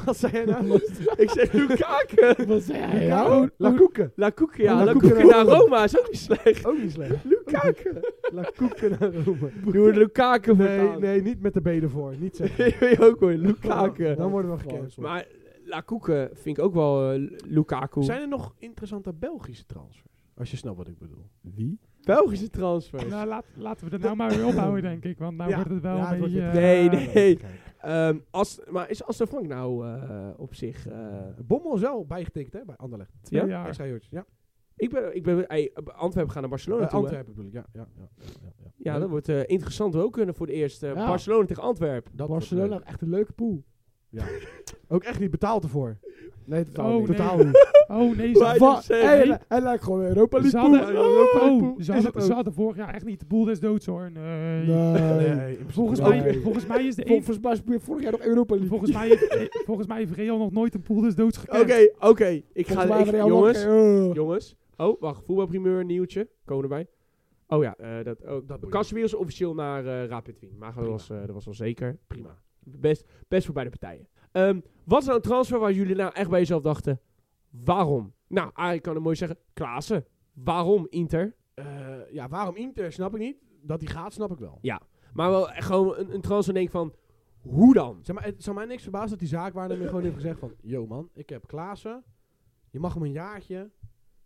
Wat zei jij nou? ik zeg Lukaku. Wat zei hij Ja, nou? oh, La Koeken. La Cuca, ja, La La Cuca Cuca naar naar Rome. Roma is ook niet slecht. Ook niet slecht. Lukaku. La Koeken naar Rome. Doe een Lukaku Nee, vertaal. nee, niet met de benen voor. Niet zeggen. Ik weet ook hoor, Oh, Lukaku. Dan worden we gecanceld. Maar Lakoeke vind ik ook wel eh, L- Lukaku. Zijn er nog interessante Belgische transfers? Als je snapt wat ik bedoel. Wie? Belgische transfers. nou, laat, laten we er nou maar weer ophouden, denk ik. Want nou Ja, wordt het wel ja, een het wordt beetje... weer- Ah, Nee, eh, nee. Ehm, als, maar is Aston Frank nou eh, op zich... eh, Bommel is wel bijgetikt, hè, bij Anderlecht. Twee Ja? jaar. Extra uurtje, ja. Ik ben, ik ben, ey, Antwerpen gaan naar Barcelona Eh, toe. hè? Antwerpen bedoel ik, ja. ja, ja, ja, ja, ja. Ja, dat wordt eh, interessant ook kunnen voor het eerst. eh, Ja. Barcelona tegen Antwerpen. Dat wordt Barcelona, echt een leuke pool. leuk. Ook echt niet betaald ervoor. Nee, totaal Oh, niet. nee. Totaal niet. Oh nee, Wij- ze, Wa- zeggen, Hey, nee. Hij hij lijkt gewoon een Europa ze League pool. hadden, Ja, Europa oh, League pool. ze Is hadden, het ze ook? hadden vorig jaar echt niet de boel des doods hoor. Nee. Nee. in principe Volgens, niet. mij, volgens mij is de een, Volgens mij speelde vorig jaar nog Europa Mm. League. volgens mij, heeft- eh, volgens mij heeft Real nog nooit een pool dus des doods Oké, gekend. oké. Ik ga... Volgens mij Ik, hebben we jongens, Real nog- eh, jongens. Oh, wacht. Voetbalprimeur, nieuwtje. Komen erbij. Oh ja, eh dat, oh, boeit Casemiro is officieel naar eh, Rapid Wien. Maar dat Prima. was, eh, dat was al zeker. Prima. Best, best voor beide partijen. Ehm, wat is nou een transfer waar jullie nou echt bij jezelf dachten? Waarom? Nou, Arie kan het mooi zeggen. Klaassen. Waarom Inter? Eh, ja, waarom Inter? Snap ik niet. Dat die gaat, snap ik wel. Maar wel echt gewoon een, een transfer denk ik van... Hoe dan? Zeg maar, het zou mij niks verbazen dat die zaakwaarnemer gewoon heeft gezegd van... Yo man, ik heb Klaassen. Je mag hem een jaartje.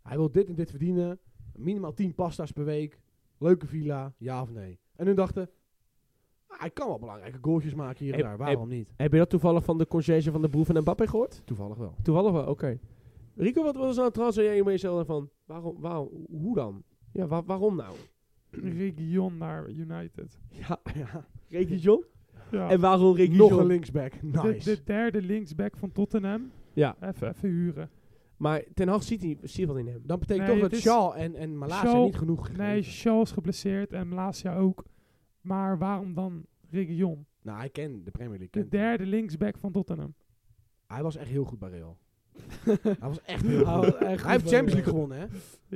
Hij wil dit en dit verdienen. Minimaal 10 pasta's per week. Leuke villa, ja of nee. En hun dachten... ah, Hij kan wel belangrijke goaltjes maken hier en Heb- daar. Waarom niet? Heb je dat toevallig van de conciërge van de Broef en Mbappé gehoord? Toevallig wel. Toevallig wel, oké. Rico, wat was nou een transfer jij mee zelf van? Waarom, waarom, hoe dan? Ja, wa- waarom nou? Region naar United. Ja, Ja. Region? Ja. En waarom Region? Nog een linksback. de, Nice. de derde linksback van Tottenham. Ja. Even, even huren. Maar Ten Hag ziet, hij- ziet wat in hem. Dan betekent Nee, toch het dat is- Shaw en, en Malasia Shaw- niet genoeg gegeven. Nee, Shaw is geblesseerd en Malasia ook. Maar waarom dan Region? Nou, hij kent de Premier League. De kent hij. derde linksback van Tottenham. Hij was echt heel goed bij Real. hij was echt heel Hij goed. was echt Hij heeft Champions goed bij- League gewonnen, hè?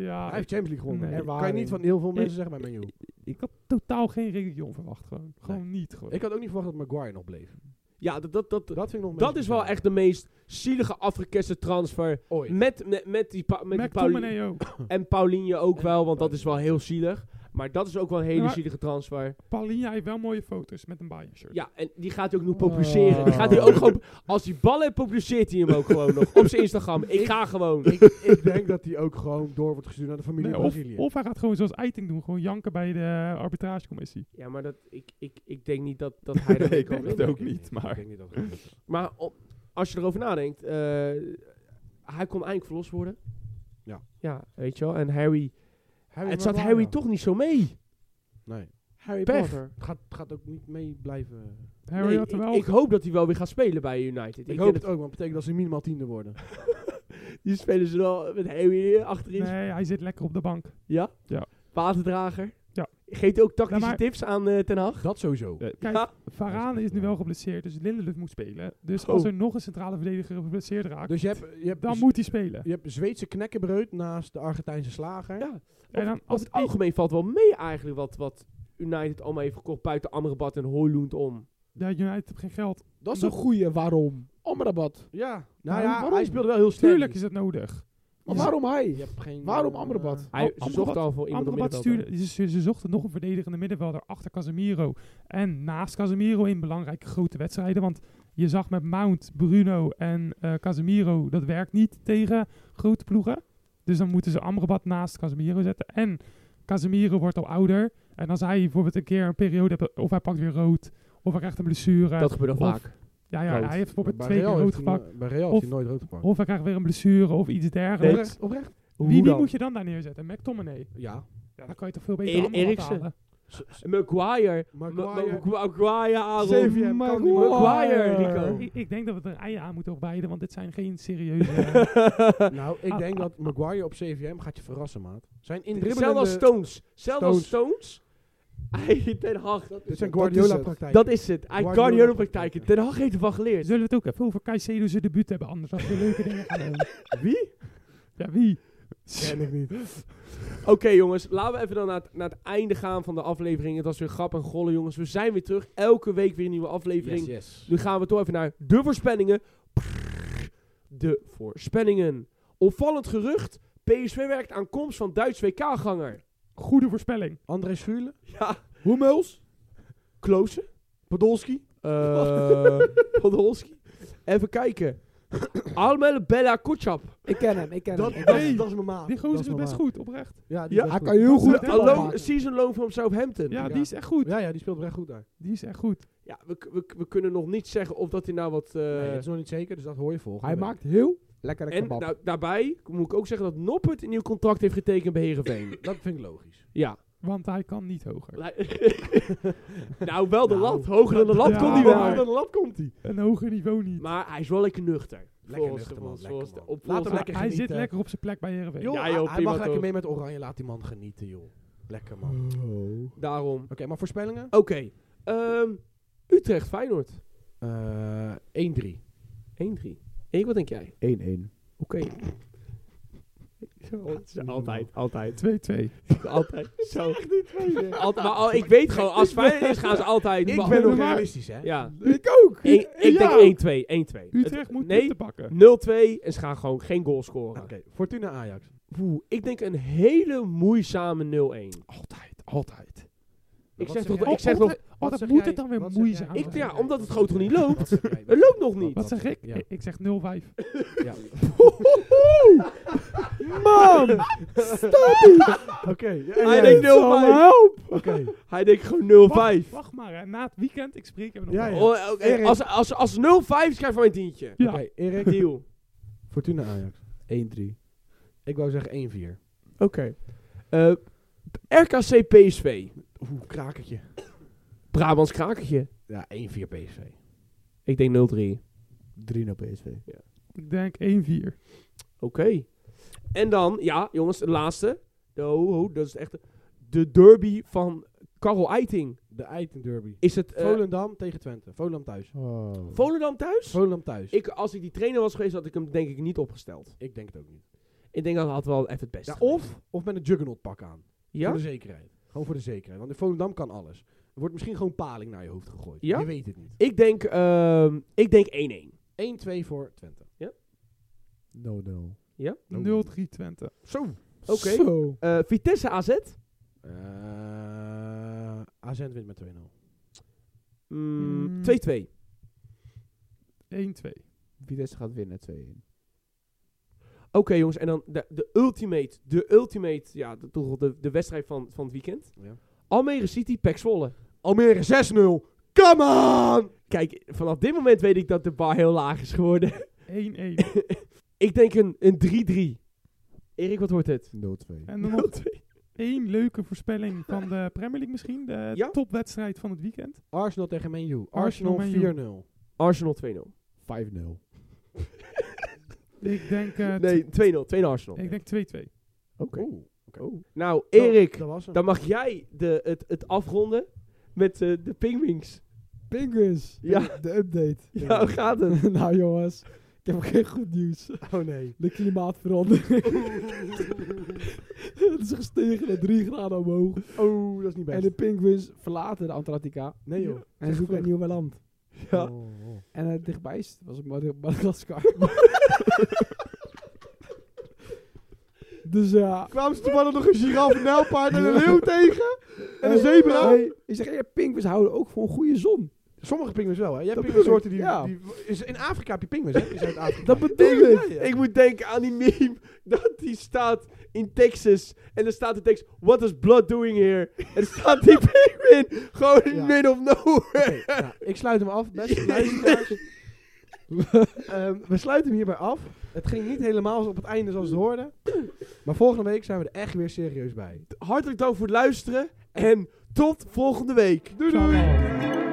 Ja, Hij heeft Champions League gewonnen. Nee. kan je niet van heel veel mensen zeggen bij Man U. ik had totaal geen Region verwacht. Gewoon, gewoon niet. Gewoon. Ik had ook niet verwacht dat Maguire nog bleef. Ja, dat, dat, dat, dat, Dat vind ik nog is wel echt de meest zielige afgekeste transfer. ooit. Met, met, met die, pa, met die Pauli McTominay ook. en Paulinho ook En wel, want dat is wel heel zielig. Maar dat is ook wel een hele Ja, maar- zielige transfer. Paulinho heeft wel mooie foto's met een Bayern shirt. Ja, en die gaat hij ook nog publiceren. Die gaat hij ook gewoon... Als hij ballen heeft, publiceert hij hem ook gewoon nog. Op zijn Instagram. Ik ga gewoon. ik, ik denk dat hij ook gewoon door wordt gestuurd naar de familie Nee, in of, Brazilië. of hij gaat gewoon zoals Eiting doen. Gewoon janken bij de arbitragecommissie. Ja, maar dat, ik, ik, ik denk niet dat, dat hij dat Nee, ook ik kan denk willen. het ook niet, maar- Ik denk niet dat het gebeurt. Maar op- als je erover nadenkt, eh, hij kon eindelijk verlost worden. Ja. Ja, weet je wel. En Harry, Harry het zat Maguire. Harry toch niet zo mee. Nee. Harry Pech. Potter. Gaat, gaat ook niet mee blijven. Harry Nee, had er ik, wel... ik hoop dat hij wel weer gaat spelen bij United. Ik, hoop denk het ook, want het betekent dat ze minimaal tiende worden. dat- Die spelen ze wel met Harry achterin. nee, hij zit lekker op de bank. Ja? Ja. Waterdrager. Ja. Geeft hij ook tactische Ja, maar- tips aan eh, Ten Hag? Dat sowieso. Ja. Kijk, Ja. Varane is nu wel geblesseerd, dus Lindelöf moet spelen. Dus Oh. als er nog een centrale verdediger geblesseerd raakt, Dus je hebt, je hebt, dan moet hij spelen. je hebt Zweedse knekkenbreud naast de Argentijnse slager. Ja. oh. en dan, als Als het het algemeen valt wel mee eigenlijk wat, wat United allemaal heeft verkocht buiten Amrabat en Hoylund om. ja, United heeft geen geld. Dat is een goeie waarom. Amrabat. Ja. Nou Nou, ja, waarom? hij speelde wel heel sterk. Tuurlijk is dat nodig. Maar Ja. waarom Je hij? hebt geen, Waarom eh, Amrabat? Hij, ze Amrabat- zochten al voor iemand om Amrabat stuurde, ze, ze- ze zochten nog een verdedigende middenvelder achter Casemiro. En naast Casemiro in belangrijke grote wedstrijden. Want je zag met Mount, Bruno en eh, Casemiro, dat werkt niet tegen grote ploegen. Dus dan moeten ze Amrabat naast Casemiro zetten. En Casemiro wordt al ouder. En als hij bijvoorbeeld een keer een periode heeft, of hij pakt weer rood, of hij krijgt een blessure. Dat gebeurt al Of- vaak. ja, ja, rood. hij heeft bijvoorbeeld Bij twee keer Real rood heeft hij gepakt. no- Bij Real heeft hij Of- nooit rood gepakt. Of hij krijgt weer een blessure of iets dergelijks. Nee. Oprecht? Hoe Wie, wie dan? moet je dan daar neerzetten? McTominay. Ja. Ja, dan kan je toch veel beter Er- Amrabat Eriksen. halen. Maguire. Maguire. Ma- Ma- Maguire, Aaron. Xavier Maguire. Maguire, Rico. Eh, Ik, ik denk dat we er eieren aan moeten opbijden, want dit zijn geen serieuze... eh, Nou, Ah. ik denk dat Maguire op CVM gaat je verrassen, maat. Zijn Zelfs als indribbelende... Stones. Zelfs als Stones. Hij- Ten Hag. Dit zijn Dat is Guardiola-praktijken. Dat is het. Hij Guardiola Guardiola praktijk, praktijken. ja. Ten Hag heeft ervan geleerd. Zullen we het ook even over Caicedo zijn debuut hebben, anders hadden we leuke dingen gaan doen. Wie? Ja, wie? ken ik niet. Oké jongens, laten we even dan naar het, naar het einde gaan van de aflevering. Het was weer grap en gollen jongens. We zijn weer terug. Elke week weer een nieuwe aflevering. Yes, yes. Nu gaan we toch even naar de voorspellingen. De voorspellingen. Opvallend gerucht. PSV werkt aan komst van Duits WK-ganger. Goede voorspelling. André Schuurle. Ja. Hummels. Klose. Podolski. Eh, Podolski. Even kijken. Almelo Bella Kutschap. Ik ken hem, ik ken Dat, hem. Ik dat, ken is- hem. dat is mijn maat. Die Ah, Dat gozer is mijn best maat. goed, oprecht. Ja, die Ja, is hij best kan goed. heel goed Dat is echt voetbal wel- Alone maken. season loan van Southampton. Ja, Ja, Ja. die is echt goed. Ja, ja, die speelt wel echt goed daar. Die is echt goed. we, we, we kunnen nog niet zeggen of dat hij nou wat... eh, nee, het is nog niet zeker, dus dat hoor je volgende Hij week. maakt heel Lekkere En kebab. da- daarbij moet ik ook zeggen dat Noppert een nieuw contract heeft getekend bij Heerenveen. Dat vind ik logisch. ja. Want hij kan niet hoger. nou, wel de Nou, lat. Hoger dan de lat ja, komt hij wel. maar- Hoger dan de lat komt hij. Een hoger niveau niet. Maar hij is wel lekker nuchter. Lekker nuchter, man. volgens- Lekker, volgens- man. op- Laat hem volgens- lekker hij genieten. zit lekker op zijn plek bij Heerenveen. Joh, Ja, joh, hij- hij prima mag lekker toch. Mm. mee met Oranje. Laat die man genieten, joh. Lekker, man. Oké, Oh. Daarom. maar voorspellingen? Oké. ehm, Utrecht, Feyenoord. 1-3. Eh 1-3. Erik, wat denk jij? 1-1. Oké. Altijd, altijd. 2-2. Altijd. Zo. Altijd, maar al, ik weet gewoon, als Feyenoord is, gaan ze altijd. Ik Maar- ben nog maar- realistisch, hè? Ja. Ik ook! Eén- ik Ja. denk 1-2, 1-2. Utrecht Het- moet nee, punten pakken. 0-2 en ze gaan gewoon geen goal Oké, scoren. Fortuna Ajax. Oeh, ik denk een hele moeizame 0-1. Altijd, altijd. Ik Wat zeg zeg toch, jij? ik zeg oh, nog, oh, dat- oh, dat zeg moet jij? het dan weer Wat zeg moeizaam jij? ik, zijn. ja, omdat het groot toch niet loopt. Wat zeg jij? Het loopt nog niet. Wat zeg ik? Ja. Ik- Ik zeg 0-5. Ja. Man! Oké. ja, ja, Hij ja. denkt 0-5. Oké. Hij denkt gewoon 0-5. Wacht, wacht maar, hè. na het weekend, ik spreek hem nog Ja, wel. ja. Oh, oké, Erik. Als, als, als 0-5 schrijf je mij een tientje. Ja. Oké, Erik. Deal. Fortuna Ajax. 1-3. Ik wou zeggen 1-4. Oké. Eh, RKC PSV. Oeh, krakertje. Brabants krakertje. Ja, 1-4 PSV. Ik denk 0-3. 3 naar PSV. Ik denk 1-4. Oké. En dan, ja, jongens, de laatste. De, ho, ho, dat is echt de, de derby van Karel Eiting. De Eiten Derby. Is het eh, Volendam tegen Twente. Volendam thuis. Oh. Volendam thuis? Volendam thuis. Ik, als ik die trainer was geweest, had ik hem denk ik niet opgesteld. Ik denk het ook niet. Ik denk dat had wel even het beste. Ja, geweest. of, of met een juggernaut pak aan. Voor Ja? de zekerheid. Gewoon voor de zekerheid. Want in Volendam kan alles. Er wordt misschien gewoon paling naar je hoofd gegooid. Ja? Je weet het niet. Ik denk, ehm, ik denk 1-1. 1-2 voor Twente. No, no. Oh. 0-3 Twente. Zo. Oké. Zo. Eh, Vitesse AZ? Eh AZ wint met 2-0. Mm, Mm. 2-2. 1-2. Vitesse gaat winnen 2-1. Oké jongens, en dan de, de ultimate, de ultimate, ja, de, toch wel de, de wedstrijd van, van het weekend. Ja. Almere City, Pek Zwolle. Almere 6-0. Come on! Kijk, vanaf dit moment weet ik dat de bar heel laag is geworden. 1-1. ik denk een, een 3-3. Erik, wat wordt het? 0-2. En dan nog één leuke voorspelling van de Premier League misschien. De Ja? topwedstrijd van het weekend. Arsenal tegen Man U. Arsenal Arsenal, Man U. 4-0. Arsenal 2-0. 5-0. Ik denk, eh, Nee, 2-0. 2-0 Arsenal. t- ik denk 2-2. Oké. Oeh. Oh. Nou, Dat, Erik, dat was hem. dan mag jij de, het, het afronden met eh, de pingwings. Penguins. Ja. De update. Ja, hoe gaat het? nou jongens, ik heb geen goed nieuws. Oh nee. De klimaatverandering. het is gestegen naar 3 graden omhoog. Oh, dat is niet best. En de penguins verlaten de Antarctica. nee joh. En zoeken een nieuw land. Ja. Oh, oh. En het dichtbij is- was het Mad- Madagaskar. dus ja. Kwamen ze toevallig nog een giraf, een nijlpaard en een leeuw tegen? En een Hey, zebra? hey, ik zeg, ja, penguins houden ook voor een goede zon. Sommige pinguïns wel, hè? Je hebt Dat pinguïnsoorten die, bedoel ik, die- is- In Afrika heb je pinguïns, hè? In Zuid-Afrika. Dat bedoel ik. Ik moet denken aan die meme dat die staat in Texas. En dan staat de tekst, what is blood doing here? En er staat die penguin gewoon in the Ja. middle of nowhere. Oké, nou, ik sluit hem af, beste luisteraars. Ehm, we sluiten hem hierbij af. Het ging niet helemaal op het einde zoals het hoorde. Maar volgende week zijn we er echt weer serieus bij. Hartelijk dank voor het luisteren. En tot volgende week. Doei doei!